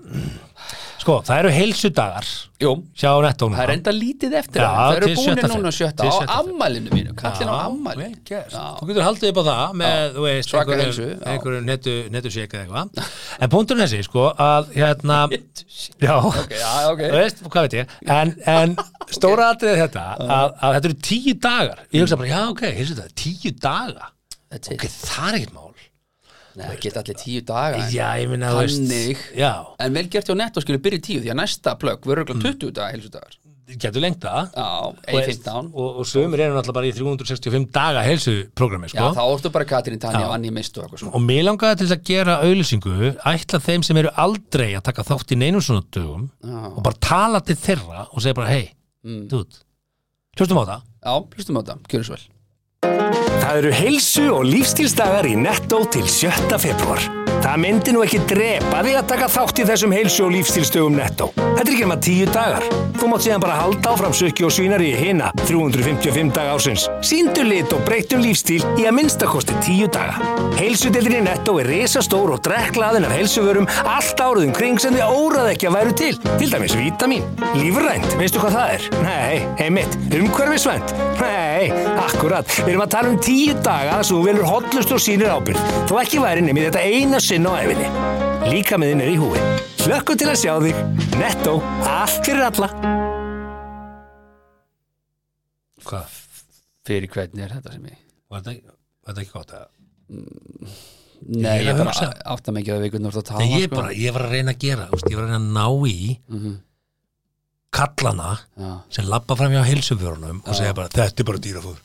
S3: sko það eru heilsudagar
S2: Jú,
S3: hjá nettó
S2: það er
S3: núna
S2: enda lítið eftir
S3: Já,
S2: það Það eru
S3: til
S2: búinir
S3: sjötta
S2: núna
S3: fyrir.
S2: sjötta
S3: Til
S2: á
S3: sjötta fyrir.
S2: ammælinu mínu Kallin á ammæli
S3: vel gert.
S2: Já.
S3: þú getur haldið upp á það með, þú veist,
S2: Svaka
S3: einhverju,
S2: heilsu, já.
S3: einhverju netu, netu eða eitthvað, en punkturinn er þessi, sko, að hérna, já,
S2: já, ok.
S3: þú veist, hvað veit ég, en, en stóra atriðið er þetta, að, að þetta eru tíu dagar, ég hugsa bara, já, ok, hilsu þetta, tíu daga,
S2: That's it.
S3: ok, það er ekkert mál,
S2: Nei, það geta allir tíu daga en-
S3: já, ég minna, þú
S2: Þannig
S3: veist, já,
S2: En vel gert hjá netto skilur byrja í tíu Því að næsta plögg verður
S3: Mm.
S2: örugglega 20 daga heilsudagar
S3: getur lengt það,
S2: Já,
S3: og,
S2: ei 15
S3: og, og sömur eru náttúrulega bara í 365 daga helsuprogrammi,
S2: Já,
S3: sko,
S2: þá orðu bara Katrín Tanja
S3: Já.
S2: og Anni Mist og eitthvað svona
S3: og mér langaði til þess að gera auðlýsingu ætla þeim sem eru aldrei að taka þátt í neinum svona dögum
S2: Já.
S3: og bara tala til þeirra og segja bara hei, þú mm. hlustum á það
S2: Já, hlustum á þetta, kjörðu svo vel
S5: Það eru heilsu og lífstílsdagar í Netto til 7. februar. Það myndi nú ekki drepa því að taka þátt í þessum heilsu og lífstílsdögum Netto. Þetta er ekki nema 10 dagar. Þú mátt síðan bara halda áfram sökki og svínar í hina 355 daga ásins. Sýndu lit og breytum lífstíl í að minnstakosti 10 daga. Heilsudeildin í Netto er risastór og drekklaðin af heilsuvörum allt árið um kring sem þið órað ekki að væru til. Til dæmis vítamin, lífrænt, veistu hvað það er? Nei, heimitt, umhverfisvænt? Nei, akkurat. Við erum að tala um tíu daga þar sem þú velur hotlust og sínir ábyrgð. Þú ekki væri nefnir þetta eina sinn á efinni. Líka með þinn er í húi. Hlökkum til að sjá þig. Netto, allt fyrir alla.
S3: hvað,
S2: Fyrir hvernig er þetta sem ég
S3: var þetta ekki- var þetta ekki gott að
S2: Nei,
S3: Ég
S2: ég
S3: er að
S2: bara
S3: hugsa.
S2: átta mikið að vikundum að tala sko.
S3: Nei, ég, bara, ég var að reyna að gera, úst, ég var að reyna að ná í kallana
S2: Mhm. Já,
S3: sem labba fram hjá heilsufjörunum og segja bara þetta er bara dýrafúr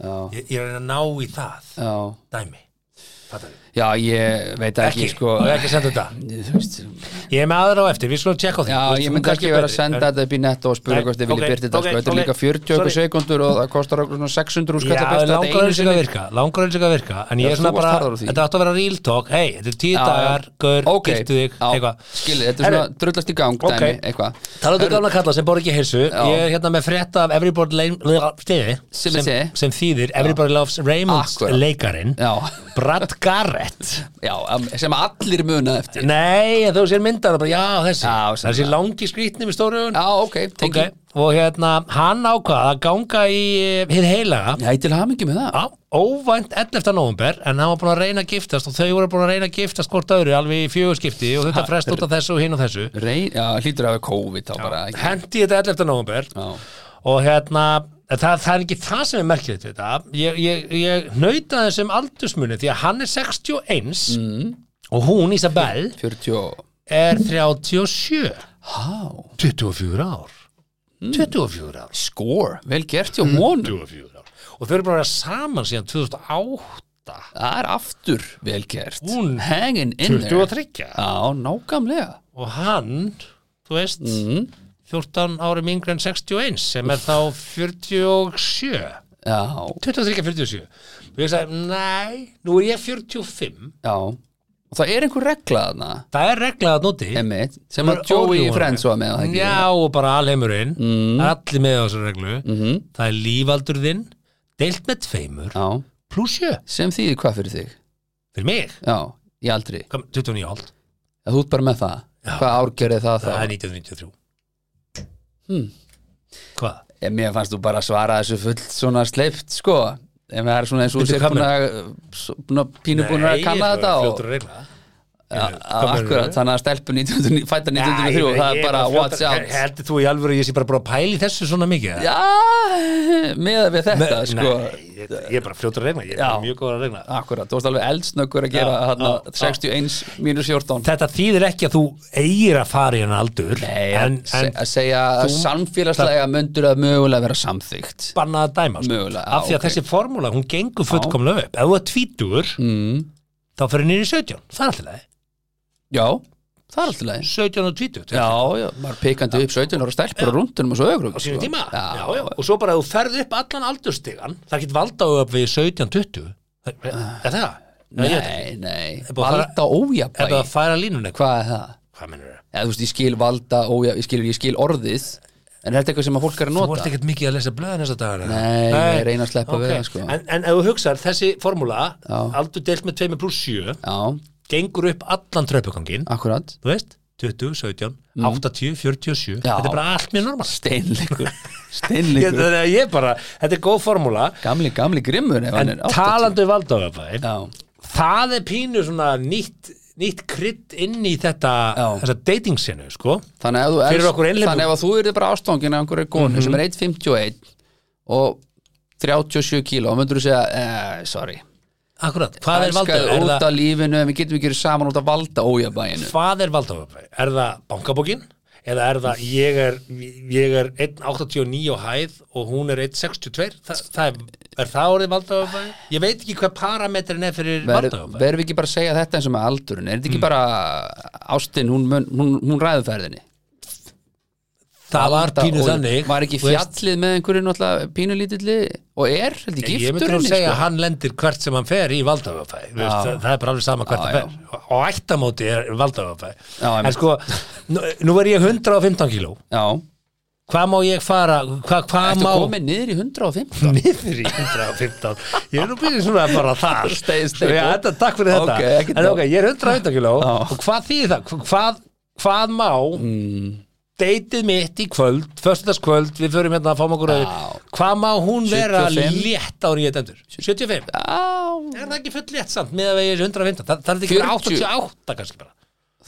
S2: já,
S3: ég, ég er að reyna að ná í það,
S2: já
S3: dæmi Fattar við?
S2: Já, ég veit það ekki,
S3: ekki,
S2: sko
S3: og ekki að senda þetta
S2: Þú veist,
S3: ég er með aðra á eftir, við skulum tjekka á því
S2: já,
S3: Þú veist,
S2: ég
S3: þú
S2: myndi
S3: kannski
S2: ekki vera að
S3: betri,
S2: senda
S3: en-
S2: þetta upp í netto og spura
S3: Nei,
S2: hvort þið vilja
S3: ok,
S2: byrta þetta
S3: ok,
S2: sko. Þetta er
S3: ok.
S2: líka 40 okkur
S3: Sorry.
S2: sekundur og það kostar okkur svona 600 úr
S3: Já, langar þessi að virka, langar þessi að virka En
S2: Já,
S3: ég
S2: þú
S3: er
S2: varst
S3: svona bara,
S2: harður á því.
S3: þetta átt að vera real talk Hei, þetta er tíu dagar, gaur, okay. giltu þig Eitthvað
S2: Skilið, þetta er svona drullast í gang
S3: ok.
S2: dæmi, eitthvað
S3: Talaðu gamla kalla sem bor ekki heilsu Ég er hérna með frétta af Everybody Lane stiði,
S2: Sem er
S3: sem,
S2: stiði.
S3: sem þýðir Everybody Loves Raymonds
S2: Akkurat.
S3: leikarin
S2: Já,
S3: Brad Garrett
S2: já, am- sem allir muna eftir
S3: Nei, en þú sér myndar bara, Já, þessi,
S2: Já, sem
S3: þessi
S2: það.
S3: langi skrýtni með stóru augun
S2: Já, ok,
S3: Ok,
S2: tengi
S3: Og hérna, hann ákvað að ganga í hinn heilaga
S2: Já, ég til hamingi með það
S3: Já, óvænt 11. november en hann var búin að reyna að giftast og þau voru búin að reyna að giftast hvort öðru alveg í fjögurskipti og þetta frest út af þessu og hinn og þessu
S2: Reyn, já, hlýtur að hafa COVID þá bara ekki?
S3: hendi þetta 11. november
S2: Já,
S3: og hérna, það, það er ekki það sem er merkilegt við þetta ég, ég, ég nauta þessum aldursmuni því að hann er 61 og hún Isabel
S2: 40 og-
S3: er 37
S2: Há,
S3: 24 ár 24 ár
S2: score, vel gert
S3: Mm.
S2: hjá honum
S3: 24 ár og þau eru bara að vera saman síðan 2008
S2: Það er aftur vel gert
S3: Hún-
S2: Hanging in there
S3: 23
S2: Já, nákvæmlega
S3: og hann, þú veist 14 árum yngri en 61 sem er þá 47
S2: Já,
S3: 23-47 og ég sagði, nei, nú er ég 45
S2: já Og það er einhver regla þarna
S3: það er reglað að noti
S2: Emmitt, sem að Joey í Friends var með það ekki? Mm. Mhm.
S3: já og bara alheimurinn allir með á þessu reglu það er lífaldur þinn deilt með tveimur
S2: Já,
S3: pluss sjö
S2: sem þýðir hvað fyrir þig?
S3: fyrir mig,
S2: Já, í aldri
S3: Kom, 29 áld
S2: að Þú ert bara með það Hvað árgerði það þá?
S3: það er 1993
S2: Hmm.
S3: hvað?
S2: Ég, mér fannst þú bara að svara þessu full svona sleipt sko en það er svona eins og þú
S3: Bíddu,
S2: sér
S3: hvað
S2: búin að s- búin að- pínu búin að kanna
S3: ég er
S2: þetta og
S3: fljótur að regla hérna-
S2: að-
S3: Hvað
S2: að-
S3: meinarðu?
S2: akkurat, þannig að stelpu 1900 fæta 1903, það er bara watch out
S3: heldur þú í alvöru að ég sé bara búin að pæli þessu svona mikið
S2: Já, með við þetta
S3: Me-
S2: sko
S3: nei, ég, ég er bara fljótur að regla ég er
S2: Já.
S3: mjög góð að regla
S2: Akkurat, þú varst alveg eldsnöggur að gera
S3: Já,
S2: þarna
S3: já, já.
S2: 61 mínus 14
S3: þetta þýðir ekki að þú eigir að fara í hann aldur
S2: Nei,
S3: en,
S2: að se-
S3: en
S2: að segja að
S3: þú-
S2: samfélagslega myndur að mögulega vera samþygt
S3: bannað að dæma sko.
S2: Mögulega, á,
S3: af því að
S2: ok.
S3: þessi formúla, hún gengur fullkomlega upp ef þú er tvítugur mm. þá fyrir niður í 17, það er alltaf leið
S2: Já, það er alltaf leið
S3: 17 og 20
S2: Eh. Já, já, maður pikandi upp 17 ára stelpur og rúndunum og svo ögrum sko.
S3: á sínum tíma
S2: Já,
S3: já, já. og svo bara að þú ferð upp allan aldurstigan það getur valdaðu upp við 17-20 er er það? Ég veit ekki.
S2: Ah. Nei, nei,
S3: Er búið að
S2: valda
S3: er það
S2: ójafnvægi
S3: að færa línunni? Hva?
S2: Hvað er það?
S3: hvað mennur það?
S2: Eða, þú veist, ég skil valda ójafnvægi, ég skil, ég skil orðið En er þetta eitthvað sem að fólk er að
S3: þú
S2: nota?
S3: vorst ekkert mikið að lesa blöðin þessa dagana
S2: Nei, ég reyni að sleppa við
S3: ok.
S2: það, sko.
S3: en, en ef þú hugsar, þessi formúla
S2: Já.
S3: aldur deilt með 2 pluss 7
S2: Já,
S3: gengur upp allan tröpugangin
S2: akkurat
S3: þú veist, 20, 17, 80, 47
S2: Mm. Já.
S3: þetta er bara allt mjög normal
S2: Steinleikur,
S3: ég,
S2: steinleikur
S3: þannig að ég bara, þetta er góð formúla
S2: Gamli, gamli grimmur ef hann
S3: en
S2: er 80.
S3: talandi valdofabæð
S2: Já,
S3: það er pínu svona nýtt nýtt krydd inn í þetta
S2: Já.
S3: þessa dating senu, sko
S2: þannig að ef þú
S3: Fyrir
S2: elst-
S3: okkur Mhm. einhleypum.
S2: Þannig ef að þú yrði bara ástangin af einhverju konu sem er 1.51 og 37 kíló, myndur þú segja, eh, sorry
S3: Akkurat, hvað er
S2: Elskaðu
S3: valdofabæð?
S2: út af lífinu en við getum ekki verið saman út af valda ójabæinu
S3: Hvað er valdofabæð? Er það bankabókin? Eða er það, ég er, ég er 1,89 á hæð og hún er 1,62? Þa, það er, er það orðið valdofabæð? Ég veit ekki hvað parametrin er fyrir
S2: verðum
S3: valdofabæð.
S2: við ekki bara að segja þetta eins og með aldurinn er þetta
S3: Mm.
S2: ekki bara ástin hún, mun, hún, hún ræðuferðinni
S3: Það var pínu þannig.
S2: var ekki
S3: þú veist.
S2: fjallið með einhverju náttúrulega pínulítilli og er heldur
S3: Ég myndi nú
S2: gifturinn
S3: segja að hann lendir hvert sem hann fer í valdafafæ það, það er bara alveg sama hvert
S2: Já,
S3: hann fer og ættamóti er valdafafæ
S2: Já, einmitt.
S3: en sko, nú, nú er ég 115 kíló
S2: já,
S3: hvað má ég fara hvað, hvað
S2: ertu
S3: má
S2: komið niður í 105
S3: niður í 115 ég er nú byrjuð svona bara þar
S2: Stay- stay
S3: Já,
S2: cool.
S3: þetta, takk fyrir þetta
S2: Ok, ekkert
S3: en,
S2: mál.
S3: okay, ég er 115 kíló
S2: Já.
S3: og hvað þýðir það Hva- hvað, hvað má
S2: Mm.
S3: deytið mitt í kvöld, föstudagskvöld við förum hérna að fáum okkur öður
S2: Já.
S3: hvað má hún vera
S2: 75?
S3: létt árið ég dendur 75
S2: já,
S3: Er það ekki full létt samt með að við erum 115? Það, það er ekki
S2: 40.
S3: 88 kannski bara.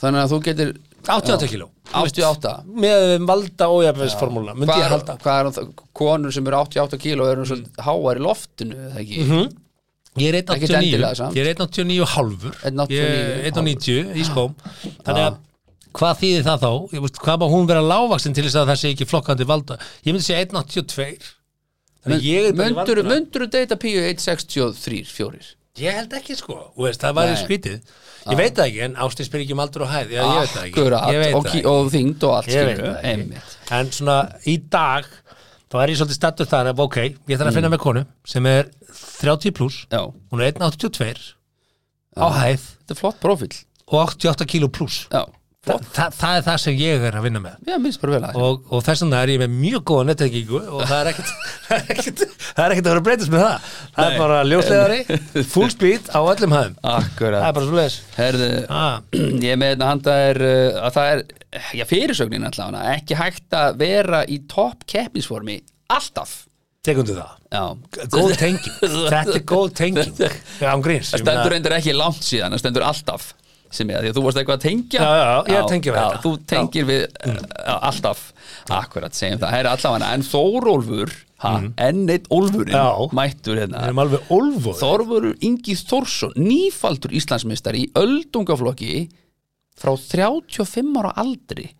S2: þannig að þú getur
S3: 88
S2: Já.
S3: kíló.
S2: 88
S3: Með að við valda ójafnveðsformúla, myndi ég
S2: hvað er,
S3: halda. Mm.
S2: hvað er það, konur sem eru 88 kíló eru svolítið háar í loftinu er það ekki,
S3: Mhm. Ég er
S2: Ekkert endilega
S3: 189,
S2: samt.
S3: ég er 189 hálfur,
S2: 1,89
S3: ég er 190 í skóm. Þannig að hvað þýðir það þá? Ég veist, hvað má hún vera lágvaxin til þess að það sé ekki flokkandi valda? Ég myndi segja 182. Þannig að ég er bara í
S2: myndur,
S3: valdaranum.
S2: myndur deyta píu 163, 4
S3: Ég held ekki sko, Þú veist, það var í
S2: Nei.
S3: skrítið. Ég veit það ekki, en Ástin spyr ekki um aldur og hæð. Já, ég veit það ekki.
S2: Akkurat,
S3: Ég veit
S2: og,
S3: það
S2: ki-
S3: ekki.
S2: og þyngd og allt
S3: Ég veit
S2: skilur
S3: það ekki.
S2: einmitt.
S3: en svona í dag þá er ég svolítið stattur þar að ok, ég þarf að
S2: Mm.
S3: finna með konu sem er 30 pluss,
S2: Já,
S3: hún er 1,82 á hæð
S2: þetta er flott profil
S3: og 88 kíló pluss
S2: Já,
S3: Þa, það, það er það sem ég er að vinna með
S2: já minnst bara vel að
S3: og, og þess vegna er ég með mjög góða nettekingu og það er ekkert það er ekkert það er ekkert að vera að breytast með það það
S2: Nei. Ah,
S3: er bara ljóslegari, full speed á öllum hæðum það er
S2: Akkurat
S3: bara svo leiðis
S2: Herðu,
S3: Ah.
S2: ég er með hérna handa er uh, að það er, já fyrirsögnin allavega ekki hægt að vera í topp keppnisformi alltaf
S3: tekundu það
S2: Já,
S3: góð tenging, þetta er góð tenging já, um gríns
S2: það
S3: Ég meina-
S2: stendur reyndar ekki langt síðan, það stendur alltaf sem ég, því að þú varst eitthvað að tengja
S3: Já, já, já, ég tengi við
S2: já,
S3: þetta. Mm.
S2: Þú tengir við uh, alltaf, akkurat segjum það, herra allavega en Þórólfur, ha, enn eitt Ólfurinn,
S3: Mm. Já.
S2: mættur hérna
S3: við erum alveg olvoð
S2: Þorfurur Ingi Þórsson nýfaldur Íslandsmeistar í öldungaflokki frá 35 ára aldri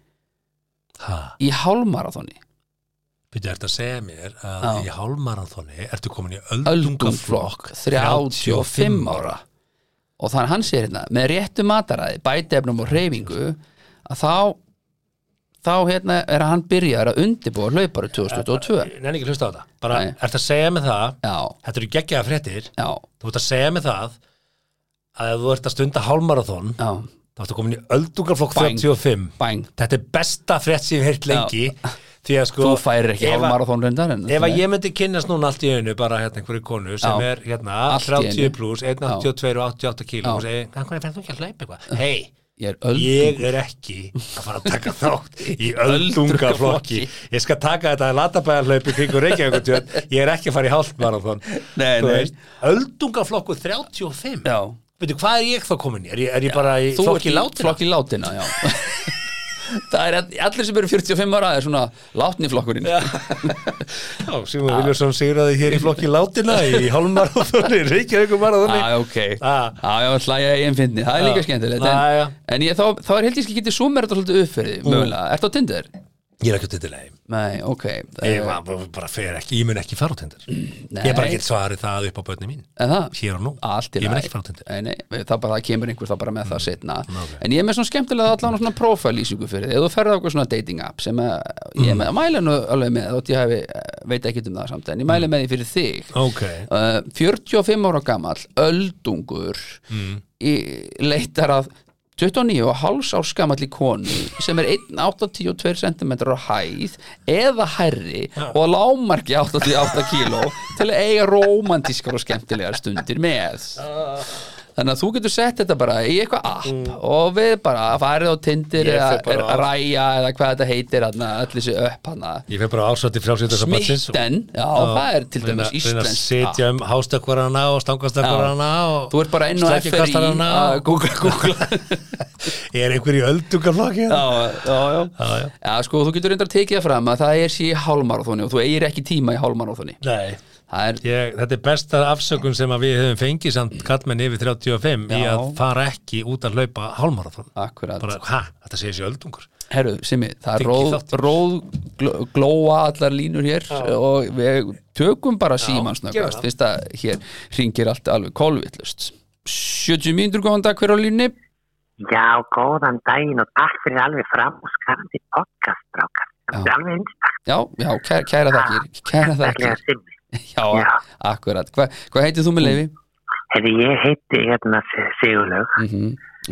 S3: það
S2: í hálmarathoni
S3: Byrju, ertu að segja mér að
S2: Já.
S3: í hálmarathoni ertu komin í
S2: öldungaflokk
S3: öldungaflokk
S2: 35 ára og þannig hann sér hérna með réttu mataræði, bætefnum og reyfingu að þá þá hérna er hann byrjaður að undibúa hlaupari 2022
S3: Ég Nenni ekki að hlusta á þetta. Bara,
S2: Nei.
S3: ertu að segja mér það,
S2: já,
S3: þetta eru geggjaða fréttir,
S2: já,
S3: þú ert að segja mér það að ef þú ert að stunda hálmarathon
S2: já
S3: þá ertu komin í öldungarflokk
S2: Bang.
S3: 35
S2: Bang.
S3: þetta er besta frétt sem ég hef heilt lengi því að sko
S2: Þú færir ekki
S3: ef að-
S2: hálf marathón reyndar en-
S3: Ef að ég myndi kynnast núna allt í einu bara hérna einhverju konu sem
S2: Já.
S3: er hérna
S2: Allt í einu.
S3: 30 pluss, 182 og 88 kíló
S2: Já.
S3: og segi, "En hvernig finnst þú ekki að hlaupa eitthvað? Hei,
S2: Ég er öldungur.
S3: ég er ekki að fara að taka þátt í öldungaflokki ég skal taka þetta að latabæðarhlaup í kringu Reykjavíkutjörn, ég er ekki að fara í hálfmarathon
S2: Nei,
S3: Þú
S2: nei.
S3: veist, öldungaflokku 35
S2: Já.
S3: veitu, hvað er ég þá komin í? Er ég, er ég bara í
S2: Þú ert
S3: flokki
S2: í
S3: látina?
S2: Flokki látina, já Það er allir sem eru 45 ára er svona látni flokkurinn
S3: Já, Simon Viljarsson sigraði hér í flokki látina í hálfmarathoni, Reykjavíkumarathoni
S2: Já, ok
S3: Ah.
S2: Já, já, hlæja í einn fyndni, það er líka
S3: Já.
S2: skemmtilegt
S3: Já, já. Mm.
S2: En, en ég, þá, þá er held ég ekki getið súmer þetta svolítið uppferði, mögulega Ertu á Tinder?
S3: Ég er ekki út í leið
S2: Nei, ok
S3: Ég
S2: Eh,
S3: bara, bara- bara fer ekki, ég mun ekki fara á tindur Ég bara get svarið það upp á börni mín
S2: En það?
S3: Hér og nú,
S2: Allt í
S3: ég mun
S2: lagi.
S3: ekki fara á tindur
S2: Nei, nei, það, bara, það kemur einhver þá bara með það setna
S3: ok.
S2: En ég er með svona skemmtilega allan svona profilýsingu fyrir þið Ef þú ferði okkur svona dating app sem að, ég
S3: Mm.
S2: er með, mæla nú alveg með þótt ég hefi, eh, veit ekki um það samt en ég
S3: Mm.
S2: mæla með því fyrir þig
S3: Ok,
S2: uh, 45 ára gamall öldungur
S3: Mm.
S2: í, leitar að 29 og háls árs gamalli konu sem er 1,82 cm á hæð eða hærri og að lámarki 88 kíló til að eiga rómantískar og skemmtilegar stundir með þannig að þú getur sett þetta bara í eitthvað app og við bara farið á Tinder
S3: Mm. Ég
S2: eða
S3: fer bara á-
S2: ræja eða hvað þetta heitir þarna, öll þessi upp hana
S3: ég fer bara ásvætti frjálsýttar
S2: Smitten, já, það er til dæmis
S3: Íslands
S2: íslensk app.
S3: Sitja um hástökkvarana og stangastökkvarana og
S2: Þú ert bara inn á FRI
S3: Slækjukastarana
S2: að
S3: og-
S2: googla, googla.
S3: Er einhver í öldungaflokki?
S2: já, já, já.
S3: Já, já.
S2: sko, þú getur reyndar að tekið það fram að það er sér í hálmarathoni og þú eigir ekki tíma í hálmarathoni
S3: Nei
S2: það er,
S3: Ég, þetta er besta afsökun sem að við höfum fengið samt kallmenn yfir 35 í
S2: Já.
S3: að fara ekki út að laupa hálmarathon
S2: Akkúrat.
S3: bara, hæ, þetta sé þessi öldungur
S2: herru, Simmi það er
S3: Fengi
S2: róð,
S3: þátt.
S2: róð gló- glóa allar línur hér og við tökum bara síman
S3: gerum
S2: snöggast
S3: það.
S2: fyrst að hér ringir allt alveg kolvillust 70 mínútur góðan dag hver á línni
S6: Já, góðan daginn og takk fyrir alveg framúskarandi podcast, strákar. Það er alveg einstaklega
S2: já, já, kæra, kæra þakkir kæra þakkir,
S6: simmi.
S2: já,
S6: Já.
S2: akkurat Hva- hvað heitir þú með leifi?
S6: Hefði ég heiti hérna S- Sigurlaug
S2: Mhm.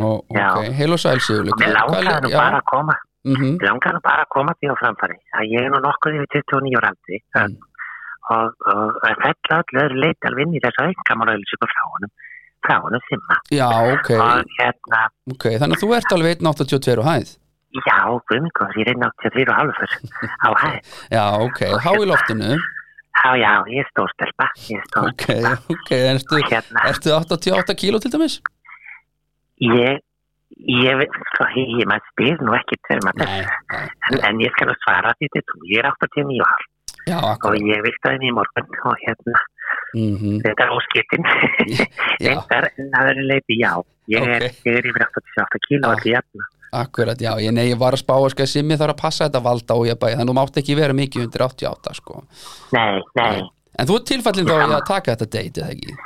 S2: og,
S6: Já.
S2: ok, heil og sæl Sigurlaug
S6: og mér
S2: Hvað- hvað-
S6: langaði nú
S2: já,
S6: bara að koma,
S2: mhm.
S6: mér langaði nú bara að koma því á framfæri að ég er nú nokkuð yfir 29 ára aldri mm. og, og, og þetta öll öðru leit alveg inn í þessu einkamálauðlisíku frá honum, frá honum simma.
S2: já, ok,
S6: Og hérna,
S2: ok þannig að þú ert alveg 182 og hæð
S6: já, guðmikos, ég reyna 83 og halvfur á hæð.
S2: já, ok, há í loftinu
S6: Já, já, ég er stórstelpa, ég er
S2: ok,
S6: stórstelpa.
S2: ok, ertu,
S6: Hérna.
S2: ertu 88 kíló til dæmis?
S6: Ég, ég, sko, ég, ég maður spyr nú ekki til maður
S2: nei,
S6: þess,
S2: nei,
S6: en, en ég skal nú svara því til þú, ég er 89 ár
S2: já,
S6: og
S2: akkurat
S6: ég vistaði henni í morgun og hérna,
S2: mhm.
S6: þetta er óskiptin,
S2: já,
S6: reyndar en að vera leiti, já, ég er,
S2: Ok.
S6: ég er yfir 88 kíló allir jafna,
S2: akkurat, já, ég, nei, ég var að spá sko, sem ég þarf að passa þetta valda og ég bæði þannig að þú mátt ekki vera mikið undir 88 sko.
S6: nei, nei,
S2: en þú ert tilfallin þá í að taka þetta date eða ekki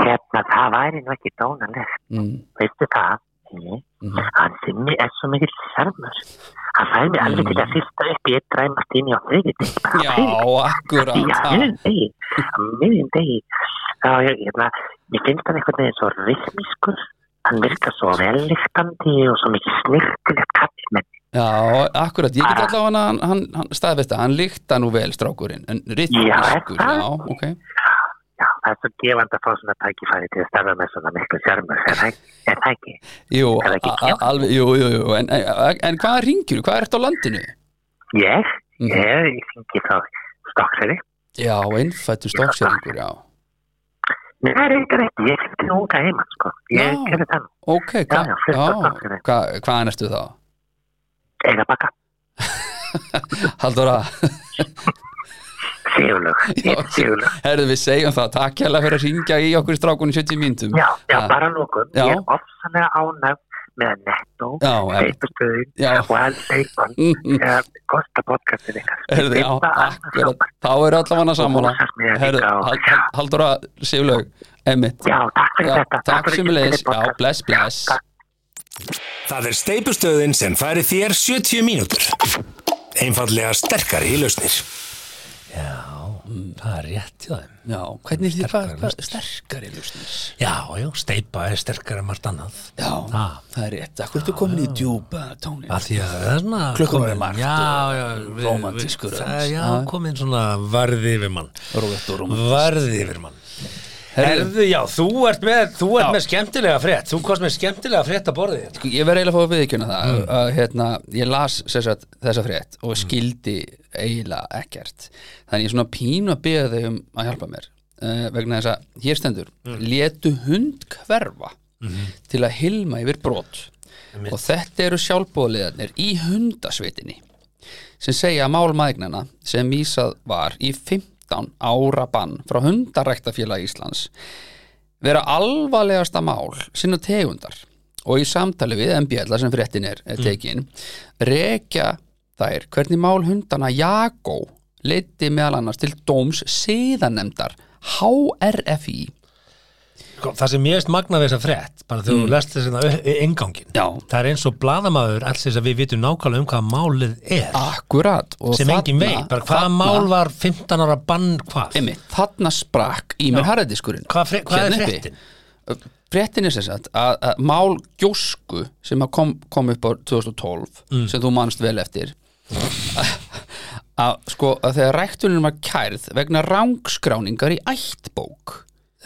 S6: hérna, það væri nú ekki dónalegt,
S2: mm.
S6: veistu það, mm.
S2: Mhm.
S6: hann sinni er svo mikill sjarmur, hann fæði mig alveg til að fyrsta upp í einn dræmast inn í á þriðið,
S2: Mm. já, akkurat
S6: Já,
S2: ha.
S6: miðjum degi, á miðjum degi. Já, ég, hérna, ég finnst hann einhvern veginn svo rithmiskur, hann virkar svo velliftandi og svo mikið snirtilegt kallmenn.
S2: Já, akkurat, ég get allavega hann, hann, hann, hann staðvesta, hann líkta nú vel strákurinn, en ritmiskur,
S6: Já, er það?
S2: já, ok
S6: Já, það er svo gefand að fá svona tækifæri til að starfa með svona miklu sjármur, er það- er það ekki?
S2: Jú,
S6: Er það ekki
S2: a- a-
S6: kjánalegt?
S2: alveg, jú, jú, jú, en, en, en hvað ringir, hvað ertu á landinu?
S6: Ég,
S2: Mhm.
S6: ég, ég fengi þá stokkseri.
S2: Já, einfættu stokkseringur, já
S6: Nei, það er eitthvað ekki, ég fengi nú unga heima, sko. Ég
S2: Já.
S6: gerði það nú,
S2: Ok, hva,
S6: já,
S2: já,
S6: fyrsta stokkseyri.
S2: hva, hvaðan ertu þá?
S6: eiga baka,
S2: Halldóra,
S6: sigurlög,
S2: Já,
S6: eitt sigurlög.
S2: herðu við segjum það, takk hérlega fyrir að ringja í okkur strákunum 70 mínútum
S6: Já, já,
S2: Ah.
S6: bara lókum.
S2: Já.
S6: Ég er ofsanlega ánægð með að Netto,
S2: Já, em-
S6: Seipustöðin
S2: Já.
S6: og alls eitthvað
S2: Mhm.
S6: kosta podcastin ykkar.
S2: Herðu, já,
S6: Þetta er
S2: akkurat,
S6: frábært.
S2: þá eru allavega sammála
S6: Húsasmiðja
S2: Herðu,
S6: líka og-
S2: Hal- Hal- Halldóra Sigurlaug, Emmitt
S6: Já, takk fyrir
S2: Já,
S6: þetta.
S2: takk
S6: fyrir
S2: sem leiðis,
S6: fyrir
S2: já,
S6: podcast.
S2: bless, bless
S6: takk.
S5: Það er steipustöðin sem færi þér 70 mínútur. Einfallega sterkari í lausnir.
S3: það er rétt hjá þeim
S2: Já, hvernig þið hvað,
S3: Sterkari
S2: hvað sterkari lausnir
S3: já, já, steipa er sterkara en margt annað
S2: Já,
S3: Ha.
S2: það er rétt Akkur ertu komin í djúpa tónin
S3: að því að það er svona
S2: Klukkan
S3: komin-
S2: er margt
S3: já,
S2: og
S3: já, við-
S2: rómantískur
S3: við-
S2: aðeins.
S3: það-
S2: Já.
S3: já, komin svona varði yfir mann
S2: Róett og rúm
S3: varði yfir mann
S2: Herðu,
S3: Erðu, já, þú ert með, þú ert
S2: Já.
S3: með skemmtilega frétt Þú komst með skemmtilega frétt að borðið þér.
S2: sko, Ég verði eiginlega að fá að viðkjöna það mm. að, hérna, Ég las sem sagt, þessa frétt og skildi eiginlega ekkert Þannig ég svona pínu að beða þau um að hjálpa mér uh, vegna þess að hér stendur Létu hund hverfa til að hilma yfir brot og þetta eru sjálfbóðleðarnir í hundasveitinni sem segja að málmægnana sem vísað var í 15 ára bann frá hundaræktafélag Íslands vera alvarlegasta mál sinna tegundar og í samtali við MBL þar sem fréttin er,
S3: Mm.
S2: er tekin rekja þær hvernig mál hundana Jakó leiti meðal annars til dóms síðanemdar HRFI
S3: Sko, Það sem ég veist magna við þessa frétt bara þegar
S2: Mm.
S3: þú lest þess að engangin
S2: Já.
S3: Það er eins og bladamaður alls þess að við vitum nákvæmlega um hvað málið er
S2: akkurat Ah, og
S3: sem engin veit, bara hvaða mál var 15 ára bann hvað
S2: Emi, þarna sprakk í mér harðardiskurinn
S3: Hvað fre- hvað er
S2: Hérna uppi.
S3: fréttin?
S2: Fréttin er sem sagt að, að mál gjósku sem að kom, kom upp á 2012
S3: Mm.
S2: sem þú manst vel eftir að sko að þegar ræktunin var kærð vegna rangskráningar í ættbók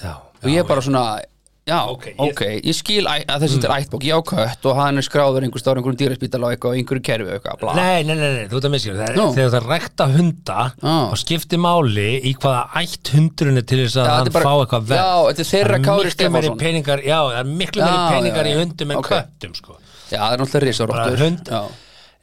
S3: Já,
S2: og ég er bara svona já, ok,
S3: Ok, ég- Mm.
S2: ég, skil æ, að þessi er ættbók, ég á kött og hann er skráður einhver stór, einhverjum dýraspítala og eitthvað, og einhverju kerfi og eitthvað, bla
S3: Nei, nei, nei, nei, þú ert að miskja það er,
S2: Nú.
S3: Þegar það rækta hunda
S2: Já.
S3: og skipti máli í hvaða ætt hundurinn er til þess
S2: Já,
S3: að
S2: þetta
S3: hann
S2: er bara-
S3: fá eitthvað verð
S2: Já, þetta er þeirra
S3: Það
S2: Kári
S3: miklu meiri
S2: Stefánsson.
S3: peningar, Já, það er miklu meiri
S2: Já,
S3: peningar
S2: já,
S3: í
S2: já.
S3: hundum en
S2: Ok.
S3: köttum sko.
S2: Já, það er náttúrulega risaróttur
S3: Bara hund-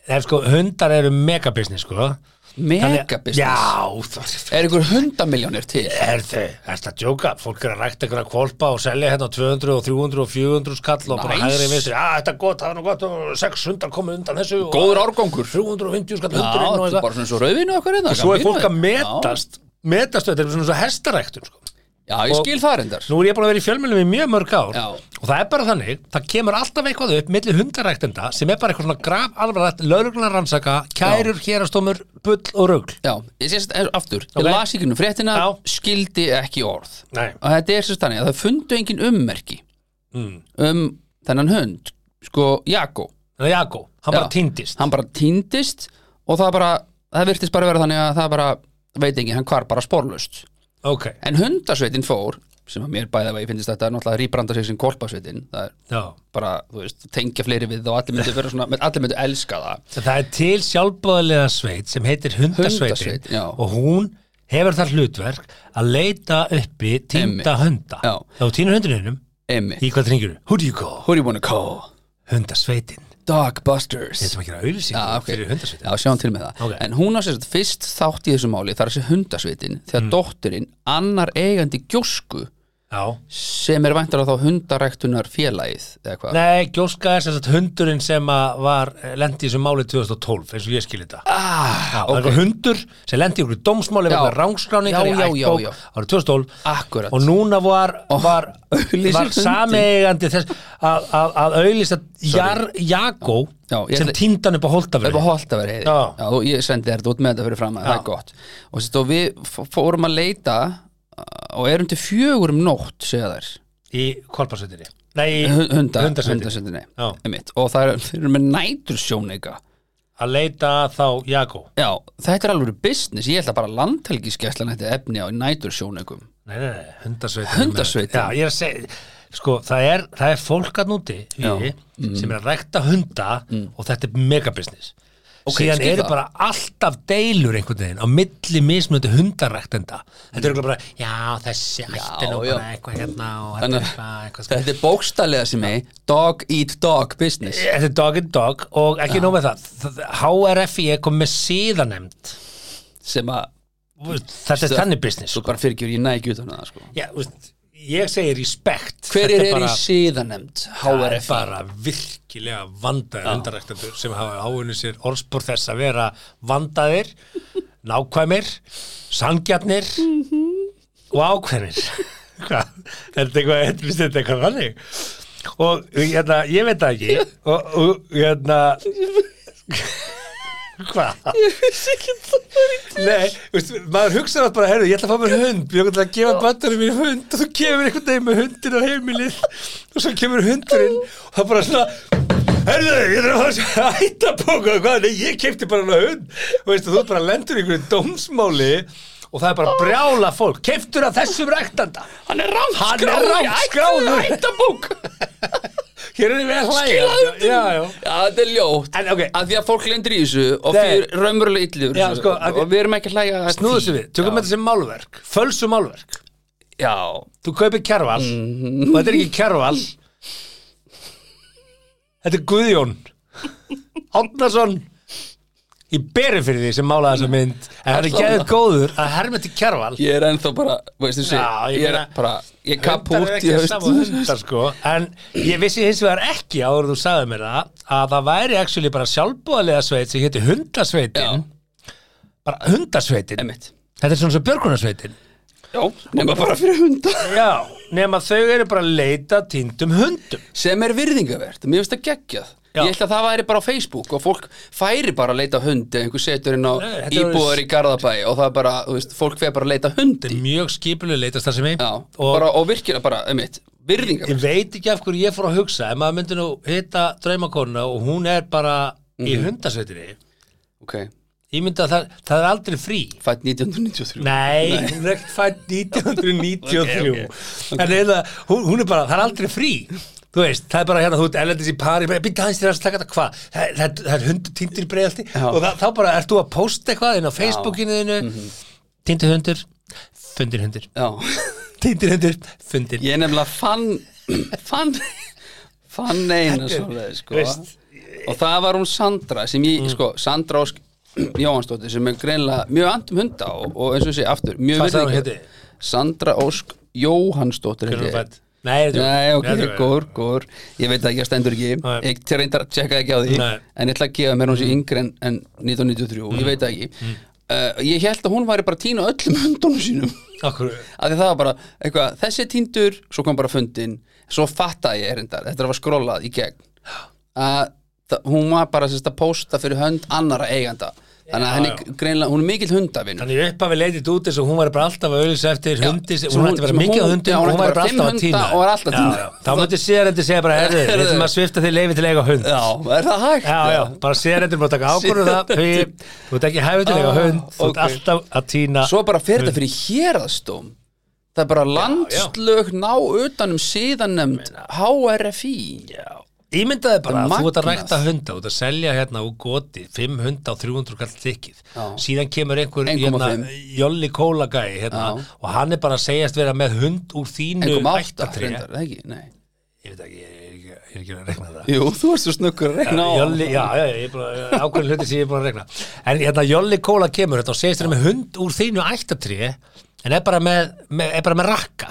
S3: Ef sko, hundar eru megabusiness sko. Þannig-
S2: Megabusiness
S3: Já, það
S2: Er einhver hundamiljónir til?
S3: er þau, erst að djóka fólk er að rækta ykkur að kvolpa og selja hérna á 200 og 300 og 400 skall og bara
S2: Nice.
S3: hægri vinsir, að þetta er gott, það er nú gott og 600 komið undan þessu og-
S2: Góður árgangur.
S3: 350 skall
S2: Já,
S3: hundurinn og
S2: þetta er
S3: eitthvað
S2: bara svona svo rauðinu okkur hérna
S3: og svo er
S2: gamvínið.
S3: fólk að metast metast þetta er svona svo hestaræktun sko.
S2: Já, já ég
S3: Og-
S2: skil það reyndar
S3: nú er ég búin að vera í fjölmjölum í mjög mörg ár
S2: Já.
S3: og það er bara þannig, það kemur alltaf eitthvað upp milli hundaræktenda sem er bara eitthvað svona graf alvarlegt, lauruglunar rannsaka kærur, hérastómur, bull og rugl
S2: Já, ég sést eh, aftur Ég
S3: Ok.
S2: las ekki nú fréttina,
S3: Já.
S2: skildi ekki orð
S3: Nei.
S2: Og þetta er sérst þannig að það fundu engin ummerki
S3: Mm.
S2: Um þennan hund Sko, Jakó
S3: þannig að Jakó, hann bara týndist
S2: Hann bara týndist Og það bara, það virtist bara vera þannig að það bara Veit engin, hann hvar bara sporlaust
S3: ok,
S2: En hundasveitin fór Sem að mér bæða vegi finnist þetta náttúrulega að rýbranda sig sem kolpasveitin Það er
S3: já
S2: bara, þú veist, tengja fleiri við það og allir myndu, vera svona, allir myndu elska það
S3: En það er til sjálfbóðlega sveit sem heitir hundasveitin
S2: Hundasveit, já.
S3: og hún hefur þar hlutverk að leita uppi týnda hunda
S2: Já.
S3: þá týnur hunduninum,
S2: Emmi,
S3: í hvað ringir who do you call?
S2: who do you wanna call?
S3: hundasveitin
S2: Dogbusters
S3: Þetta maður gera auðlýsing
S2: Já, ok.
S3: fyrir hundasveitin
S2: Já, sjáum til með það
S3: Ok.
S2: En hún á sér sagt fyrst þátt í þessu máli þar þessi hundasvitin þegar
S3: Mm.
S2: dótturinn annar eigandi gjósku
S3: Já.
S2: sem er væntar þá hundaræktunar félagið eða hvað
S3: Nei, gjóska er sem sagt hundurinn sem að var eh, lendi í þessu máli 2012 eins og ég skil þetta
S2: ah,
S3: Já, okay. eitthvað hundur sem lendi í okkur
S2: Já.
S3: dómsmáli vegna rángskráningar
S2: Já,
S3: í
S2: já, já,
S3: ættbók
S2: já.
S3: árið 2012
S2: Akkurat.
S3: og núna var, var,
S2: auglýsir
S3: var
S2: hundinn.
S3: sameigandi þess að, að, að auðlýsa Jar, Jakó
S2: Já, ég
S3: sem
S2: ætla-
S3: týndan upp á
S2: Það er bara
S3: Holtafrið
S2: holt að vera heiði
S3: Já.
S2: Já, og ég sendi þér þetta út með þetta fyrir fram að það er gott og, sérst, og við f- fórum að leita uh, og erum til fjögur um nótt segja þær
S3: í Kolparsveitinni Nei, í
S2: Hunda,
S3: hundasveitinni
S2: hundasveitinni
S3: Já.
S2: einmitt. og það er, þeir eru með nætursjónleika
S3: að leita þá Jakó
S2: Já, þetta er alveg business, ég held að bara landhelgiskeslan þetta efni á nætursjónleikum
S3: Nei, nei, nei, hundasveitin
S2: Hundasveitin.
S3: Já, ég er að segja Sko, það er, það er fólk að núti
S2: Já. Mm.
S3: í, sem er að rækta hunda og þetta er megabusiness
S2: Ok,
S3: síðan
S2: skil
S3: eru
S2: það.
S3: bara alltaf deilur einhvern veginn á milli mismunandi hundaræktenda þetta er bara, já þessi ætti nú
S2: Mm. já.
S3: bara eitthvað hérna og þetta
S2: Þannig
S3: er
S2: að-
S3: eitthvað, eitthvað sko.
S2: Þetta er bókstallega sem er dog eat dog business
S3: þetta er dog and dog og ekki nóg með það Það- HRFI er komið með síðanemnd
S2: sem að,
S3: þetta er
S2: Svo-
S3: þannig business sko.
S2: svo bara fyrirgjur ég næg utan að það sko
S3: já, úst, ég segi respekt
S2: Hver
S3: Þetta
S2: er,
S3: bara-
S2: í síðanemnd
S3: Það er
S2: HRF?
S3: bara virkilega vandaðir hundaræktendur sem hafa áunni sér orðspór þess að vera vandaðir, nákvæmir, sangjarnir og ákveðnir. Hvað? Er þetta eitthvað, er- finnst þetta eitthvað þannig? Og hérna, ég veit það ekki og, og hérna, Hvað?
S7: Ég vissi ekki að það var í
S3: Nei, veist, maður hugsa nátt bara, herru, ég ætla að fá mér hund Ég ætla að gefa bönnunum mín hund og þú kemur einhvern veginn með hundin á heimilið og svo kemur hundurinn og það bara svona Herðu, ég þarf að fá að hætta bóka hvað, nei, ég kefti bara hana hund og veistu, þú bara lendur í einhverju dómsmáli og það er bara brjála fólk keftur af þessum ræktanda
S2: Hann er rámt
S3: Hann er rangskráður.
S2: Ættabók
S3: Hér erum við að hlæja
S2: Skilaðu
S3: Já, já
S2: Já, þetta er ljótt
S3: En ok,
S2: Af því að fólk lendur í þessu og
S3: Nei.
S2: fyrir raunverulega illur
S3: Já, sko, að-
S2: og við erum ekki að hlæja að
S3: snúðu
S2: því.
S3: þessu við, tökum
S2: Já.
S3: þetta sem málverk, fölsu málverk
S2: Já,
S3: Þú kaupir kjærval
S2: Mhm.
S3: og þetta er ekki kjærval Þetta er Guðjón Átnason í beri fyrir því sem málaði þessa mynd en hann er geðið góður að herma til kjærval
S2: ég er ennþá bara veistu þessi,
S3: Já, ég
S2: ég, er
S3: meina-
S2: bara ég er
S3: Hundar eru
S2: kapút í
S3: ekki að
S2: haust
S3: sama og hundar, sko. En ég vissi hins vegar ekki áður þú sagði mér það að það væri actually bara sjálfbúðalega sveit sem héti hundasveitin bara hundasveitin
S2: Einmitt.
S3: Þetta er svona svo björgunarsveitin
S2: Já, nema bara fyrir hunda
S3: Já, nema þau eru bara að leita týndum hundum
S2: sem er virðingavert, mér finnst það geggjað
S3: Já.
S2: Ég held að það væri bara á Facebook og fólk færi bara að leita að hundi einhver setur inn á
S3: Nei, þetta er-
S2: íbúðar í Garðabæ og það er bara, þú veist, fólk fer bara að leita að hundi
S3: Mjög skipuleg leitast það sem ég
S2: Já, og, bara, og virkilega bara, einmitt, virðingavert
S3: Ég veit ekki af hverju ég fór að hugsa ef maður myndi nú hitta draumakonuna og hún er bara í
S2: Mhm.
S3: hundasveitinni
S2: Ok,
S3: Ég myndi að það, það er aldrei frí
S2: fætt 1993
S3: Nei, hún er ekkert fætt 1993
S2: Ok,
S3: En eða, hún, hún er bara, það er aldrei frí Þú veist, það er bara hérna, þú ert erlendis í pari Býta hans þér að slaka þetta, hvað? Það, það, það er hundur tindur í breiðalti
S2: Já.
S3: Og það, þá bara, ert þú að posta eitthvað inn á Facebookinu þinu
S2: Mhm.
S3: Tindur hundur, fundir hundur
S2: Já,
S3: Tindur hundur, fundir
S2: ég nefnilega fann fann fann eina svoleið, sko
S3: veist. Mm.
S2: og það var hún Sandra sem ég, sko, Sandra Ósk Jóhansdóttir sem er greinlega mjög andum hunda og, og eins og sé aftur, mjög
S3: Hvað sagði hún
S2: virðingar- Sandra Ósk Jóhansdóttir
S3: Hvenær
S2: held
S3: hún
S2: ég.
S3: fædd? Nei, þetta er-
S2: Nei, ok,
S3: Nei, þetta er-
S2: góður, góður Ég veit ekki að stendur ekki
S3: Nei.
S2: Ég til reyndar að tjekka ekki á því
S3: Nei. Mm.
S2: En ég ætla að gefa mér hún sé yngri en, en 1993 Ég veit það ekki uh, Ég held að hún væri bara að tína öllum hundunum sínum
S3: Akkur,
S2: að því það var bara eitthvað, þessi er týndur svo kom bara fundin, svo fattaði ég erindar þetta var skrólað í gegn að það- hún var bara sérst að posta fyrir hönd annara eiganda þannig að henni
S3: já.
S2: greinlega, hún er mikill hundavinn
S3: Þannig upp að við leitið út eins og hún var bara alltaf að auðvisa eftir hundi, sem- hún ætti bara mikið á hundum
S2: já,
S3: og hún var bara
S2: fimm
S3: alltaf að
S2: hunda
S3: týna
S2: og var alltaf að týna.
S3: Já, já. Þá myndi séðarendi segja bara, herðu, við
S2: Heyrðu.
S3: ætlum að svifta þig leifi til að eiga hund
S2: já, er það hægt?
S3: Já, já, bara séðarendi bara taka ákvörðu það því þú ert ekki hæfið til að eiga
S2: Ah,
S3: hund þú ert
S2: ok.
S3: alltaf að týna
S2: svo bara fer þetta fyrir hérastóm það er bara landslög ná um utanum síðanemnd HRFI
S3: Ímyndaði bara
S2: Þetta er
S3: að þú ert að
S2: magnað.
S3: rækta hunda út að selja hérna úr goti 500 á 300 kall þykkið
S2: Já.
S3: síðan kemur einhver
S2: 1,5.
S3: hérna, Jolly Cola gæi hérna,
S2: Já.
S3: og hann er bara að segjast vera með hund úr þínu
S2: einhverjum átta
S3: ættatréi.
S2: reyndar, eða ekki? Nei.
S3: Ég veit ekki, ég er ekki, ég er ekki að regna það
S2: Jú, þú ert svo snöggur að reyna á
S3: Jolli, já, já, já, ég er bara ákveðin hluti sem ég er búin að regna En hérna Jolli Kóla kemur þetta og segist þér með hund úr þínu ættatrí en er bara með, með, er bara með rakka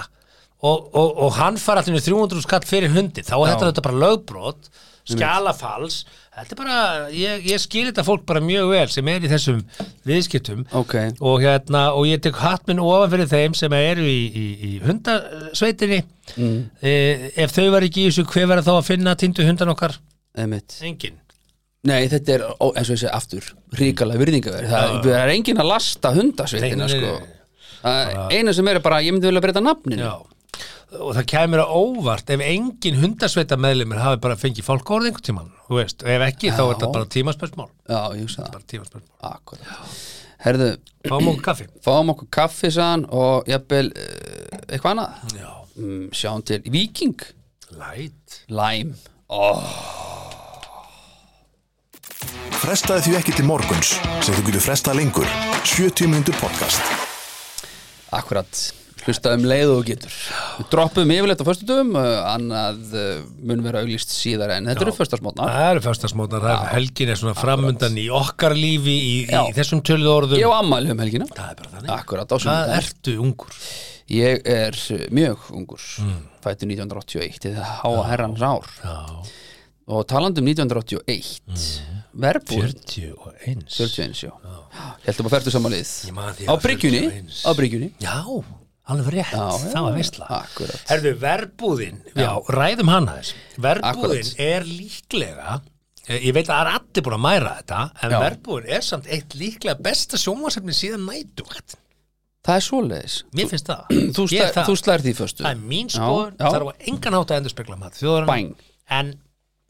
S3: og, og, og hann fara allir 300 skall fyrir hundi þá er þetta þetta bara lögbrot skjalafals Þetta er bara, ég, ég skil þetta fólk bara mjög vel sem er í þessum viðskiptum
S2: Ok.
S3: og hérna, og ég tek hatt minn ofan fyrir þeim sem eru í, í, í hundasveitinni mm. ef þau var ekki í þessu, hver verður þá að finna tindu hundan okkar?
S2: Einmitt.
S3: Engin
S2: Nei, þetta er, ó, eins og ég segi, aftur ríkala virðingaverð, það, það er engin að lasta hundasveitina,
S3: Nei, nei,
S2: sko
S3: nei, nei.
S2: Það- eina sem er bara, ég myndi vilja breyta nafninu
S3: Já og það kemur að óvart ef engin hundasveita meðlumir hafi bara fengið fólk orðið einhvern tímann, þú veist, og ef ekki þá er þetta bara tímaspörsmál,
S2: Já, ég hugsa það,
S3: bara tímaspörsmál.
S2: akkurat Herðu,
S3: Fáum okkur kaffi
S2: fáum okkur kaffi saðan og jafnvel, eh, eitthvað annað
S3: Já,
S2: Mm, Sjáum til, Viking
S3: læt
S2: Læm, ó,
S1: Frestaði því ekki til morguns sem þú getur frestað lengur 70 mínútur podcast
S2: akkurat Hlusta um leið og þú getur Við droppum yfirleitt á föstudum annað eh, mun vera auglýst síðar en þetta eru föstasmótnar
S3: Það eru föstasmótnar, það er helgin er svona framundan í okkar lífi í, í
S2: Já.
S3: þessum töluðu orðum
S2: Ég á ammæli um helgina
S3: Það er bara þannig
S2: Akkurat, á
S3: Hvað
S2: sunnudaginn.
S3: ertu ungur?
S2: Ég er uh, mjög ungur
S3: Mm.
S2: fættur 1981 eða háa herrans ár
S3: Já,
S2: og um talandum 1981 mm. verbúr
S3: 41
S2: 41, já Hjæltum að ferðu samanlið
S3: Ég man því
S2: á
S3: að
S2: bryggjunni,
S3: 41.
S2: á bryggjunni
S3: Já, alveg rétt,
S2: Já, já,
S3: það var veistla
S2: akkurat.
S3: Herðu, verbúðin, já, ræðum hana þess Verbúðin
S2: Akkurat.
S3: er líklega eh, Ég ég veit að það er allir búin að mæra þetta en
S2: Já.
S3: verbúin er samt eitt líklega besta sjónvarsefni síðan nættugt
S2: Það er svoleiðis
S3: Mér finnst það
S2: Þú,
S3: Ég er
S2: slæ, þú slæðir því föstu
S3: Það er mín
S2: Já,
S3: skoðun,
S2: já.
S3: það er á engan hátt að endur spekla mat þjóðurinn
S2: Bæng.
S3: En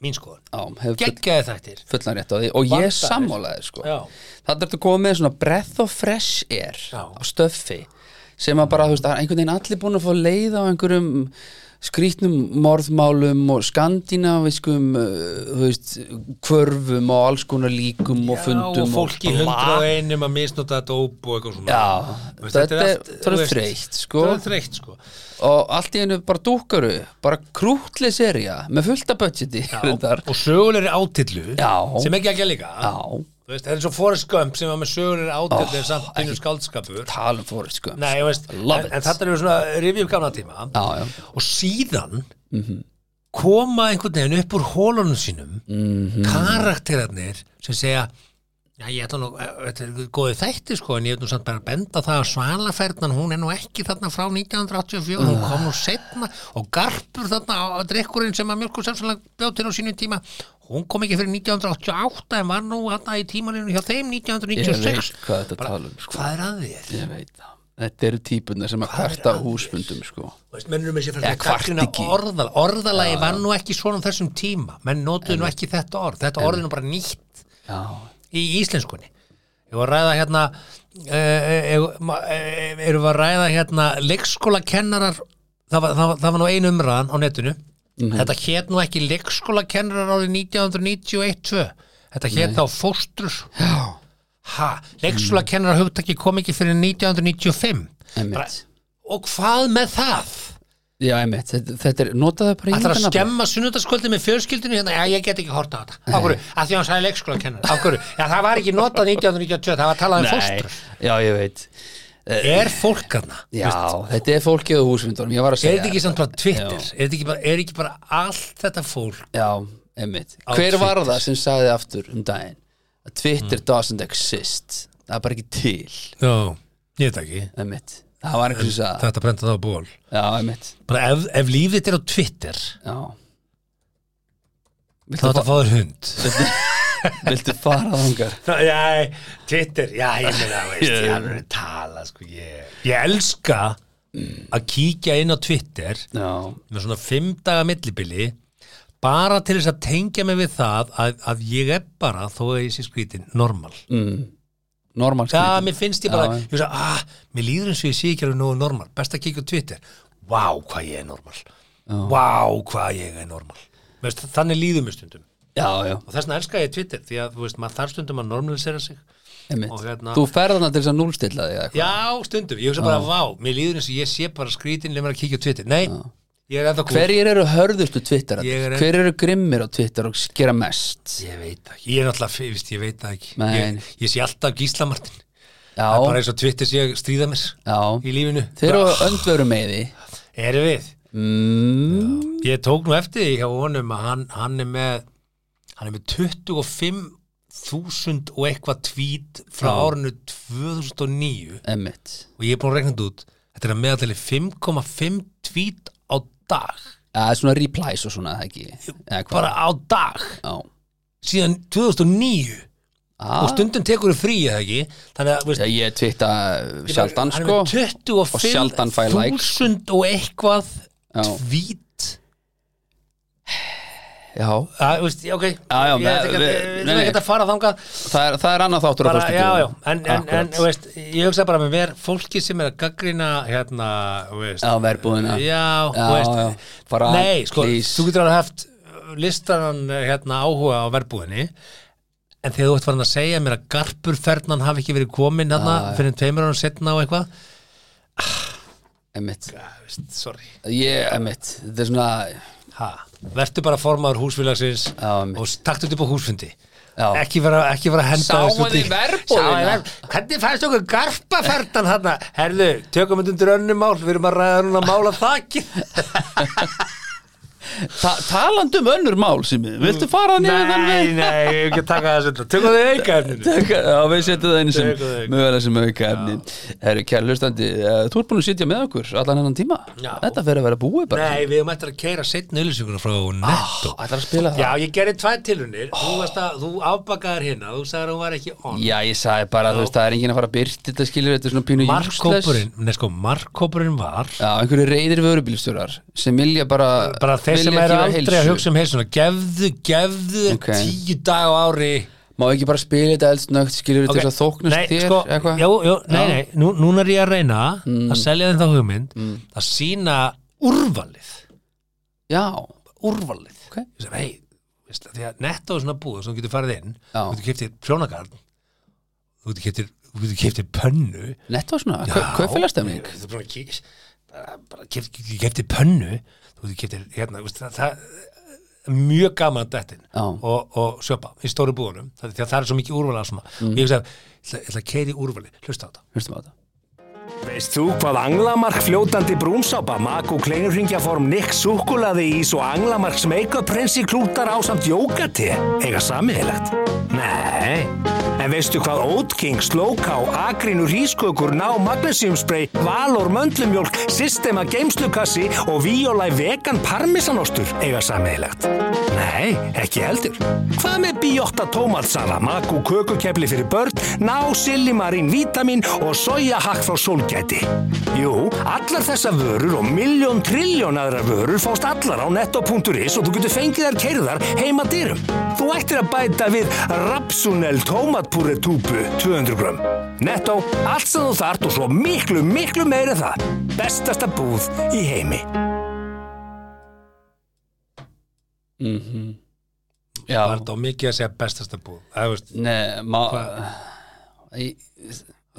S3: mín skoðun
S2: Já, hefur full,
S3: Geggjaði þættir
S2: fullan rétt á því og ég
S3: Vandaðir.
S2: er sammálaði sko.
S3: Já.
S2: Það er þetta komið með svona breath of fresh air
S3: Já.
S2: á stöffi sem að bara, þú veist, það er einhvern veginn allir búin að fá leið á einhverjum skrýtnum morðmálum og skandinaviskum uh, þú veist, kvörfum og alls konar líkum og fundum
S3: og fólk í
S2: bla.
S3: hundra og einum að misnota dóp og eitthvað svona
S2: Já,
S3: Þú veist,
S2: þetta er-
S3: allt-
S2: þetta er
S3: þú veist,
S2: þreytt, sko.
S3: Þetta er þreytt sko
S2: og allt í einu bara dúkkaru bara krútli serja með fullta budgeti reyndar.
S3: Og sögulegri átillu
S2: Já.
S3: sem ekki ekki að líka
S2: Já,
S3: Þú veist, Það er eins og Forrest Gump sem var með sögulegri átillu
S2: Oh,
S3: en samt
S2: ekki-
S3: bínu skaldskapur
S2: talum fórið sko
S3: Nei, ég veist, en,
S2: Love it.
S3: en þetta er svona rifið upp gamla tíma
S2: Já, Mhm. já
S3: og síðan koma einhvern veginn upp úr hólunum sínum
S2: Mhm. Mm.
S3: karakterarnir sem segja já ég ætla nú, eh, þetta er góði þætti sko en ég ætla nú samt bara að benda á það að svalaferðnan hún er nú ekki þarna frá 1984 hún kom nú setna og garpur þarna á á drikkurinn sem að mjölkur samsvæðan bjóð til á sínum tíma hún kom ekki fyrir 1988 en var nú þarna í tímaninu hjá þeim
S2: Ég veit
S3: 1996
S2: hvað þetta tala um sko.
S3: hvað er að þér?
S2: Ég veit það Þetta eru típunar sem að kvarta á húsfundum sko
S3: Veist, menn eru með sér
S2: Eða
S3: fyrir
S2: kvart
S3: gagnrýna
S2: ekki.
S3: orðal, orðalagi var nú ekki svona um þessum tíma menn notuðu nú ekki þetta orð þetta orð er nú bara nýtt
S2: Já
S3: í íslenskunni ég var að ræða hérna eh, eh, ma- eh, erum við að ræða hérna leikskólakennarar það var, það, var, það var nú einu umræðan á netinu
S2: Mhm.
S3: þetta hét nú ekki leikskólakennarar árið 1991-2 þetta hét þá fóstrur ha, leikskólakennarar hugtaki kom ekki fyrir 1995 bara,
S2: Emmett
S3: og hvað með það?
S2: Já, emmett Þetta, þetta er, notaðu bara
S3: Það er að
S2: engan nafn.
S3: skemma sunnundaskvöldi með fjörskildinu hérna, já ég get ekki horta á þetta Af hverju, að því að hann sagði leikskóla kennar Af hverju, já það var ekki notað 1992 það var talað um fóstur
S2: Nei Já, ég veit
S3: Er fólk hana?
S2: Já, þetta er fólkið á húsfundunum Ég var að
S3: Er
S2: segja
S3: þetta ekki samt bara Twitter?
S2: Já.
S3: Er þetta ekki bara, er ekki bara allt þetta fólk?
S2: Já, emmett
S3: Á
S2: Hver var
S3: Twitter. Mm.
S2: það sem sagði aftur um daginn að Twitter doesn't exist Það er bara ekki til,
S3: Já, ég veit ekki
S2: emmett Það var einhvers sem sagði það.
S3: Þetta brenda það á ból
S2: Já, emmett
S3: Bara ef, ef líf þitt er á Twitter
S2: Já
S3: þá
S2: Viltu,
S3: þetta
S2: fa
S3: fáður hund
S2: viltu fara þangar?
S3: Já, Twitter, já ég meina veist, ég alveg að tala sko, ég, Mm. ég elska að kíkja inn á Twitter
S2: Já,
S3: með svona fimm daga millibili bara til þess að tengja mig við það að, að ég er bara, þó að ég sé skrítin, normal.
S2: normal
S3: Já,
S2: skrítið.
S3: mér finnst ég
S2: Já,
S3: bara,
S2: já.
S3: ég veist að, ah, mér líður eins og ég sé ekki alveg nógu normal. Best að kíkja á Twitter. Vá, hvað ég er normal. Vá, hvað ég er normal. Veist, þannig líður mér stundum.
S2: Já, já,
S3: Og þessna elska ég Twitter, því að, þú veist, maður þarf stundum að normalisera sig.
S2: emitt
S3: Og hérna-
S2: Þú ferðan til þess að núlstilla því eða eitthvað
S3: Já, stundum, ég hugsa bara, vá, mér líður eins og ég sé bara skrítin lemur að kíkja á Twitter. Nei, ég er ennþá kúl.
S2: Sko, Hverjir eru hörðustu Twitter?
S3: Ég er-
S2: Hverjir eru grimmir á Twitter og gera mest?
S3: Ég veit það ekki, ég er náttúrulega, fyrir- víst, ég veit það ekki
S2: Nei.
S3: ég, ég sé alltaf Gísla Martin
S2: Já,
S3: Það er bara eins og Twitter sé að stríða mér í
S2: já
S3: lífinu
S2: Þeir eru öndveru með því
S3: Erum við
S2: mm,
S3: Ég tók nú eftir því hjá honum að hann, hann er með hann er með 25.000 og eitthvað tweet frá
S2: Já.
S3: árinu 2009
S2: Emitt
S3: og ég er búin að rekna þetta út Þetta er að meðaltali 5,5 tweet á dag
S2: Það er svona replies og svona, það ekki Eða hvað?
S3: bara á dag
S2: Já
S3: síðan 2009
S2: ah,
S3: og stundum tekur þau frí eða ekki þannig að, veist,
S2: Já, ég twitta sjaldan
S3: hann
S2: sko
S3: er með 25
S2: Og sjaldan fæ like.
S3: þúsund og eitthvað
S2: Já.
S3: tvít
S2: Já,
S3: að, Ah, veist, ok,
S2: Já, já,
S3: ég
S2: með-
S3: ætla ekki
S2: við-
S3: að- ég
S2: nei,
S3: ætla
S2: nei.
S3: ekki að fara þangað
S2: það er, það er annað þáttur á
S3: bara,
S2: föstudögum.
S3: já, já, en, en, en
S2: Akkurat.
S3: þú veist, ég hugsa bara með mér fólki sem er að gaggrina hérna, þú veist,
S2: Já, verbúðina
S3: já,
S2: já,
S3: þú veist
S2: já. Bara,
S3: nei, sko,
S2: please.
S3: þú getur alveg haft uh, listanan uh, hérna áhuga á verbúðinni en þegar þú ert farin að segja mér að garpurferðnan hafi ekki verið komin hérna fyrir tveimur árum setna og eitthvað
S2: Einmitt.
S3: Já, veist, sorry
S2: Ég, einmitt, þetta er svona
S3: Ha, vertu bara formaður húsfélagsins
S2: Já, einmitt.
S3: og taktu þetta upp á húsfundi
S2: Já.
S3: ekki vera, ekki vera að henda
S2: Sáuð
S3: þessu út í-
S2: þið verbúðina?
S3: Sáuð þið verb- hvernig fæst okkur garpafertan þarna herðu, tökum þetta undir önnum mál við erum að ræða núna mál að þakki
S2: Ta talandi um önnur mál sem viltu fara niður þann
S3: Nei,
S2: veginn?
S3: nei, ég hef ekki taka það svolítið Tökum þið auka efninu
S2: Taka, já, við setjum það inn sem
S3: Tökum það auka.
S2: mögulega sem auka efni Herru, kæra hlustandi, eh, þú ert búin að sitja með okkur allan hennan tíma
S3: Já.
S2: Þetta fer að vera búið bara
S3: Nei, Ah, við höfum eftir að keira setna auðlýsinguna frá netto
S2: Það er að spila það
S3: Já, ég gerði tvær tilunir Þú, varst að- þú afbakaðar hérna, þú sagðir að hún var ekki on
S2: Já, ég sagði bara, þú veist, það er enginn að fara að byrta þetta skilur, þetta er svona pínu useless.
S3: Markkópurinn, nei sko, markkópurinn var
S2: Já, einhverju reyðir vörubílstjórar sem vilja bara
S3: bara þeir
S2: vilja
S3: sem eru
S2: gefa
S3: aldrei að
S2: heilsu.
S3: hugsa um heilsuna gefðu, gefðu þér
S2: Ok.
S3: tíu dag á ári
S2: Má ekki bara spila þetta eldsnögt, skilur þetta
S3: Ok,
S2: okay. þess að þóknast
S3: nei,
S2: þér
S3: sko,
S2: eitthvað?
S3: já, já, nei,
S2: Já. Mm.
S3: nei, nú, núna er ég að reyna að selja þeim þá hugmynd að sína úrvalið
S2: Já,
S3: úrvalið
S2: ok
S3: Ég sem, hey, veist, því að netta á svona búð sem þú getur farið inn
S2: Já.
S3: þú getur keftir prjónagarn þú getur keypt þér- þú getur keftir pönnu
S2: Netto svona, kaupfélagstemning
S3: þú getur bara kýs- bara- bara keftir pönnu þú getur keftir hérna veist, það, það er mjög gaman að dettin
S2: Já.
S3: og, og sjöpa í stóru búðunum það, því að það er svo mikið úrvalið svona. mm. ég hugsa, ég ætla- ég ætla að keiri úrvalið, hlusta á þetta
S2: Hlustum á þetta
S5: Veist þú hvað Anglamark fljótandi brúnsápa, makk og kleinurringjaform Nick Súkulaði ís og Anglamarks make-up prinsi klútar á samt jókati? Eiga samiðilegt? Nei. En veistu hvað Oat King, Slowcow, Akrinu Rískökur, Ná Magnesium Spray, Valor Möndlumjólk, Systema Geimslukassi og Víólæ Vegan Parmesanostur eiga samiðilegt? Nei, ekki heldur. Hvað með Bíotta tómatsala, makk og kökukepli fyrir börn, Ná Sillimarín Vítamin og sojahakk frá sólgæti? Jú, allar þessar vörur og miljón trilljón aðra vörur fást allar á netto.is og þú getur fengið þær keirðar heima dyrum. Þú ættir að bæta við Rapsunel tómatpúri túpu 200 grömm. Netto, allt sem þú þart og svo miklu, miklu meira en það. Bestasta búð í heimi.
S2: Já,
S3: var þetta á mikið að segja bestasta búð það, veist,
S2: Nei, má Í-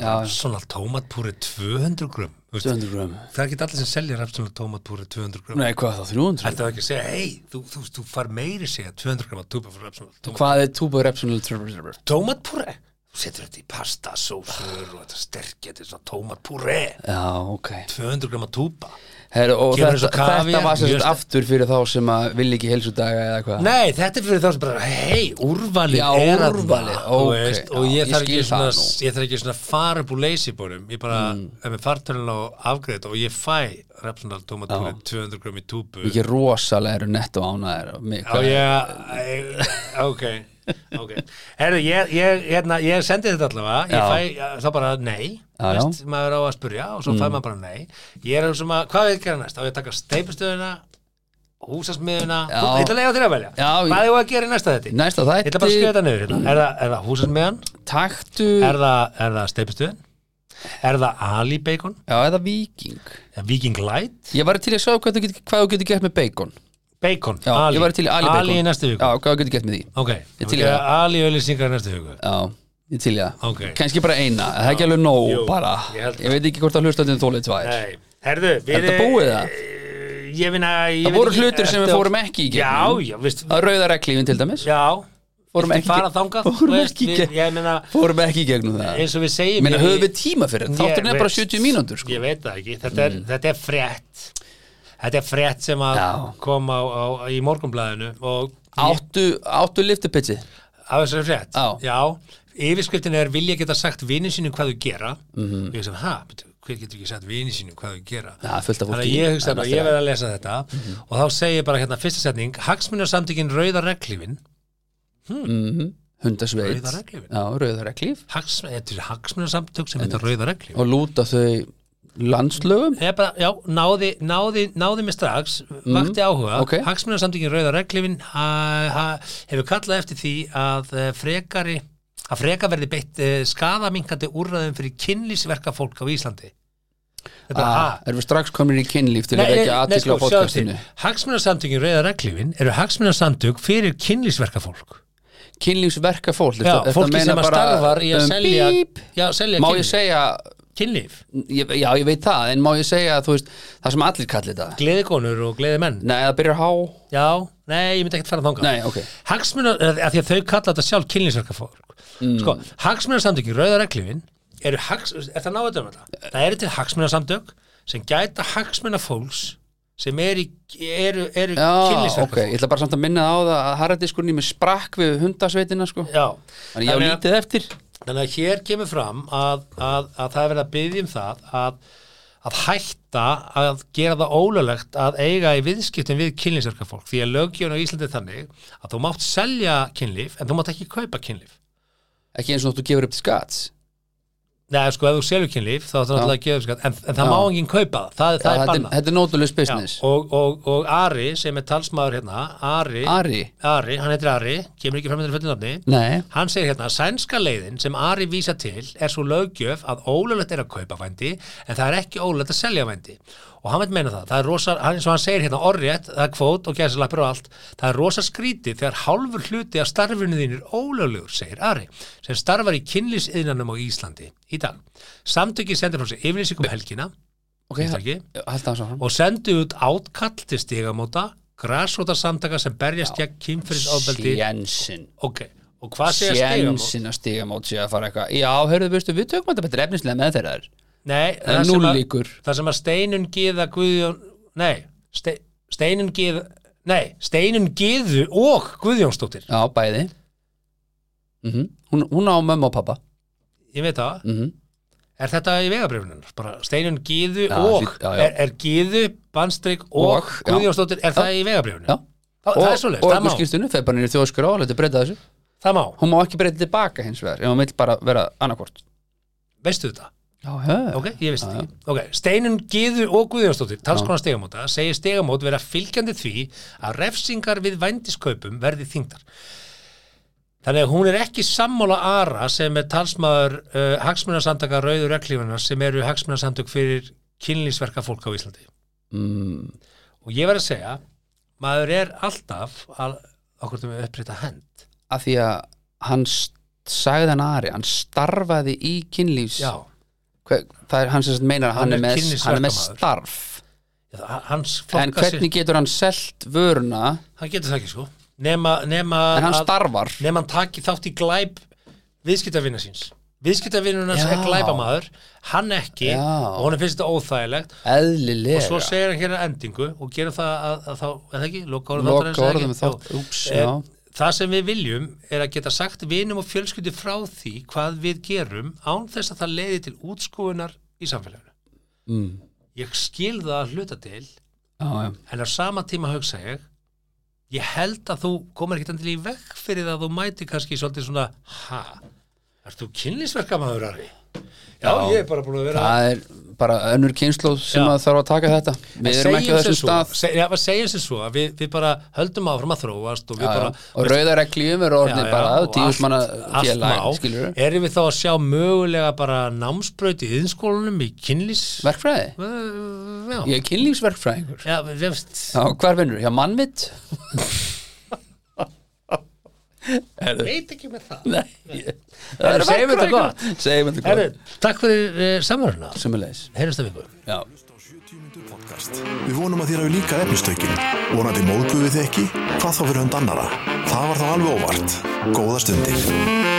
S2: Já,
S3: svona tómatpúri 200 grum
S2: 200 grömm
S3: það er ekki allir sem selja svona tómatpúri 200 grum
S2: Nei, hvað þá, 300?
S3: Þetta var ekki að segja, hei, þú, þú, þú, far meiri segja 200 gram að túpa fyrir Repsol
S2: um- Hvað er túbúður Repsonal Turbo?
S3: Tómatpúre, þú setur þetta í pasta, sósur og þetta sterkja, þetta er svona tómatpúre
S2: Já, ok
S3: 200 gram að túpa
S2: Her, Og þetta,
S3: Gerðu eins og kavíar,
S2: þetta var sem
S3: mjög
S2: sagt
S3: sterkt.
S2: aftur fyrir þá sem að vilja ekki heilsudaga eða hvað
S3: Nei, þetta er fyrir þá sem bara, hei, úrvalið
S2: Já,
S3: er að
S2: úrvalið,
S3: þú
S2: ókei,
S3: veist,
S2: já,
S3: Og
S2: ég
S3: ég þarf
S2: skil
S3: ekki,
S2: það
S3: svona,
S2: nú. Mm.
S3: ég þarf ekki svona fara upp úr leysibórum Ég bara, ef ég fartölun á afgreitt og ég fæ Repsol tómatpúre 200 gram í túpu
S2: Ekki rosalega eru netto ánæður
S3: Já, ég, ok, ok. Herðu, ég, ég, hérna, ég sendi þetta
S2: Já.
S3: allavega, ég fæ þá bara nei,
S2: Já, Mm. já.
S3: veist, maður á að spurja og svo fæ maður bara nei. Ég er sem að, hvað við gera næst? Á ég að taka steipustöðuna, húsasmiðuna,
S2: Já.
S3: þú ætla að lega þér að velja.
S2: Já,
S3: hvað
S2: ég-
S3: ég... ég að gera í næsta þetta?
S2: Næsta
S3: Ég ætla bara að
S2: þætti,
S3: skjöta niður hérna. Er það, er það húsasmiðan?
S2: taktu
S3: Er það, er það steipustöðin? Er það Ali Bacon?
S2: Já, eða viking
S3: Er Viking Light?
S2: Ég var til í að sjá hvað þú getur, hvað þú getur gert með bacon
S3: Bacon,
S2: Já,
S3: Ali.
S2: ég var til í Ali bacon
S3: Ali í næstu viku.
S2: Já, hvað þú getur gert með því
S3: Ok,
S2: Ég
S3: ég
S2: til í
S3: til ég. Ali auðlýsingar í næstu viku.
S2: Já, ég til í það
S3: Ok.
S2: Kannski bara eina, það er ekki alveg nóg
S3: Jú,
S2: bara
S3: ég held
S2: Ég veit ekki hvort að hlustandi þólið tvær
S3: Nei, herðu, við... eh,
S2: Er þetta búið það?
S3: Ég finna... Ég
S2: Það
S3: veit
S2: voru
S3: ekki-
S2: hlutir sem við
S3: ertu-
S2: fórum ekki í
S3: Já,
S2: gegnum.
S3: já, veist...
S2: Það er rauða reglífin til dæmis
S3: Já,
S2: Fórum
S3: viltu
S2: ekki-
S3: fara þangað,
S2: fórum
S3: þú veist,
S2: ekki í
S3: við-
S2: gegn.
S3: Ég meina,
S2: Fórum ekki í gegnum það
S3: eins og við segjum...
S2: Meina,
S3: í-
S2: höfum við tíma fyrir þetta?
S3: Ég
S2: Þátturinn er bara
S3: veist-
S2: 70 mínútur, sko. Mm.
S3: Ég veit það ekki, þetta er, þetta er frétt. Þetta er frétt sem að
S2: Já.
S3: kom á, á, í morgunblæðinu og...
S2: Áttu, áttu liftupitsi
S3: Á þessari frétt?
S2: Já.
S3: Já, yfirskriftin er vilja geta sagt vinið sínum hvað þú gera
S2: Mhm.
S3: og ég sem, ha, betur, hver getur ekki sagt vinið sínum hvað þú gera?
S2: Já, fullt af
S3: Þannig
S2: fólki.
S3: að ég hugsa
S2: Það er
S3: bara,
S2: allt í
S3: ég verð að Mhm. lesa þetta og þá segi ég bara hérna fyrsta setning, hagsmunarsamtökin Rauða Reglífin
S2: Hundasveit
S3: Rauða reglífin.
S2: Já, rauða reglíf
S3: hags, þetta er hagsmunarsamtök sem heita Rauða Reglífin
S2: Og lúta þau landslögum
S3: Ég bara, já, náði, náði, náði mig strax, vakti áhuga,
S2: ok.
S3: hagsmunarsamtökin Rauða Reglífin ha, ha, hefur kallað eftir því að eh, frekari að freka verði beitt uh, skadaminkandi úrræðum fyrir kynlísverka fólk á Íslandi. Þetta er
S2: Ah,
S3: ah,
S2: Erum við strax komin í kynlíf til að vekja
S3: sko,
S2: aðtikla á podcastinu
S3: Hagsmunarsamtökin Rauða Reglífin eru hagsmunarsamtök fyrir kynlísverka fólk.
S2: Kynlífsverka fólk
S3: Já, fólki sem að starfar í að selja,
S2: um, bíp,
S3: já, selja
S2: Má ég
S3: kynlíf.
S2: segja
S3: kynlíf.
S2: ég, Já, ég veit það, en má ég segja þú veist, Það sem allir kalli þetta
S3: Gleðikonur og gleðimenn.
S2: Nei, það byrjar há
S3: Já, nei, ég myndi ekkert fara þangað
S2: Nei, ok.
S3: Hagsmunar, af því að þau kalla þetta sjálf kynlífsverka fólk
S2: Mm.
S3: Sko, hagsmunarsamtökin, rauða reglifin eru
S2: Eh.
S3: hags, er það náðu dömum þetta? Það eru til hagsmunarsamtök sem gæta hagsmuna fólks sem eru, eru, eru
S2: Já, ok,
S3: kynlífsverkefni.
S2: ég ætla bara samt að minna á það að harðardiskurinn í mig sprakk við hundasveitina sko
S3: Já,
S2: Þannig ég á
S3: Þannig að-
S2: lítið eftir
S3: þannig að hér kemur fram að, að, að það er verið að byggja um það að, að hætta að gera það ólöglegt að eiga í viðskiptum við kynlífsverka fólk því að löggjörn á Íslandi er þannig að þú mátt selja kynlíf en þú mátt ekki kaupa kynlíf
S2: Ekki eins og þú gefur upp til skats
S3: Nei, sko, ef þú selur kynlíf þá er það náttúrulega að gefa skatt en, en það
S2: Já.
S3: má enginn kaupa það, það,
S2: Já,
S3: það er
S2: þetta
S3: bannað
S2: Þetta er nótulegs
S3: Já,
S2: business
S3: og, og, og Ari sem er talsmaður hérna Ari,
S2: Ari,
S3: Ari, hann heitir Ari kemur ekki fram með þetta nafni
S2: nei,
S3: Hann segir hérna að sænska leiðin sem Ari vísa til er svo löggjöf að ólöglegt er að kaupa vændi en það er ekki ólöglegt að selja vændi og hann veit meina það, það er rosa, hann, eins og hann segir hérna orrétt, það er kvót og gæðslappur og allt það er rosa skrítið þegar hálfur hluti af starfinu þín er ólöglegur, segir Ari sem starfar í kynlýsiðnanum á Íslandi í dag. Samtöki sendir frá sér yfirlýsingum um helgina,
S2: ok,
S3: fyrirtæki,
S2: haldið það svo
S3: og sendu út átkall til stigamóta, græsróta samtaka sem berjast gegn kynfyrinsofbeldi
S2: Sjensinn
S3: ok, og hvað segja stigamóta?
S2: Sjensinn að stiga mót sér að fara eitthvað Já, hörðu, veistu, við tökum þetta betur efnislega með þeirra þar
S3: Nei,
S2: Það er
S3: sem
S2: núll
S3: að-
S2: líkur.
S3: Það sem að steinun gíða Guðjón Nei, ste, steinun gíða Nei, steinun gíðu og Guðjónsdóttir
S2: Já, bæði mm hún, hún á mömmu og pappa
S3: Ég veit það,
S2: mm
S3: er þetta í vegabrifunum? Bara steinun gíðu
S2: Já,
S3: og
S2: því- já, já.
S3: Er, er gíðu, bannstrygg og,
S2: Og, já.
S3: Guðjónsdóttir Er það í
S2: Já
S3: vegabrifunum?
S2: Og,
S3: Það, það er svoleiðis,
S2: og
S3: það má,
S2: skýrstunni, þegar bara nýri þjóðskur á, letur breyta þessu
S3: það má
S2: Hún má ekki breyta tilbaka hins vegar, ef hún vill bara vera annarkvort
S3: Veistu þetta?
S2: Já, hef
S3: Ok, ég veist þetta ekki okay. Steinun Gíðu og Guðjónsdóttir, talskona stegamóta segir stegamót vera fylgjandi því að refsingar við vændiskaupum verði þingdar Þannig að hún er ekki sammála Ara sem er talsmaður uh, hagsmunarsamtaka Rauður Reklífunar sem eru hagsmunarsamtök fyrir kynlýsverka fólk á Íslandi
S2: mm,
S3: og ég verð að segja maður er alltaf að okkur þú með upprétta hend
S2: Af því að hann st- sagði hann Ari, hann starfaði í kynlífs
S3: Já,
S2: Hver, Það er hann sem sagt meinar að hann, er
S3: Hann er
S2: með, hann er með
S3: kynlífsverkamaður.
S2: starf
S3: hans
S2: En
S3: flokka
S2: hvernig getur hann selt vöruna
S3: hann getur það ekki sko nema, nema
S2: en hann
S3: að-
S2: starfar
S3: nefn hann taki þátt í glæp viðskiptavinna síns viðskiptavinnuna sem
S2: Já.
S3: er glæpamaður hann ekki
S2: Já.
S3: og honum finnst þetta óþægilegt
S2: Eðlilega
S3: og svo segir hann hér að endingu og gerum það að, að þá, er það ekki, loka orðum
S2: Loka
S3: þáttarins, eða
S2: orðum
S3: ekki?
S2: þátt,
S3: Já.
S2: úps,
S3: Eh,
S2: já.
S3: það sem við viljum er að geta sagt vinum og fjölskyldi frá því hvað við gerum án þess að það leiði til útskúunar í samfélaginu
S2: mm.
S3: ég skil það að hluta til
S2: Já, já
S3: en á sama tíma hugsa ég ég held að þú komir ekkert endilega í vekk fyrir það að þú mæti kannski svolítið svona ha, ert þú kynlýsverkamaður Ari? Já,
S2: Já.
S3: ég er bara búin að vera
S2: Það er bara önnur kynnslóð sem
S3: Já.
S2: að þarf að taka þetta Við erum um ekki á þessum stað
S3: se, ja, segjum sem svo að við, við bara höldum áfram að þróast og við
S2: Já, já.
S3: bara
S2: og rauðaregliðum er orðið bara
S3: og
S2: tíðusmanna
S3: allt
S2: félag,
S3: má.
S2: skilur við
S3: erum við þá að sjá mögulega bara námsbraut í yðinskólanum í kynlýs
S2: Verkfræði?
S3: já,
S2: Ég er kynlífsverkfræðingur
S3: já, við veist
S2: Já, hvar vinnur? Já, mannvitt?
S3: veit ekki með það
S2: Nei Það er
S3: segjum þetta
S2: verkfræðingur.
S3: gott.
S2: Segjum þetta
S3: Herru,
S2: gott
S3: takk fyrir uh, samverðuna
S2: Sumulegis
S3: heyrjumst að viku
S2: Já
S1: podcast. Við vonum að þér hafi líka efnistökin. Vonandi móðguðu þið ekki, hvað þá fyrir hund annara. Það var þá alveg óvart. Góða stundir.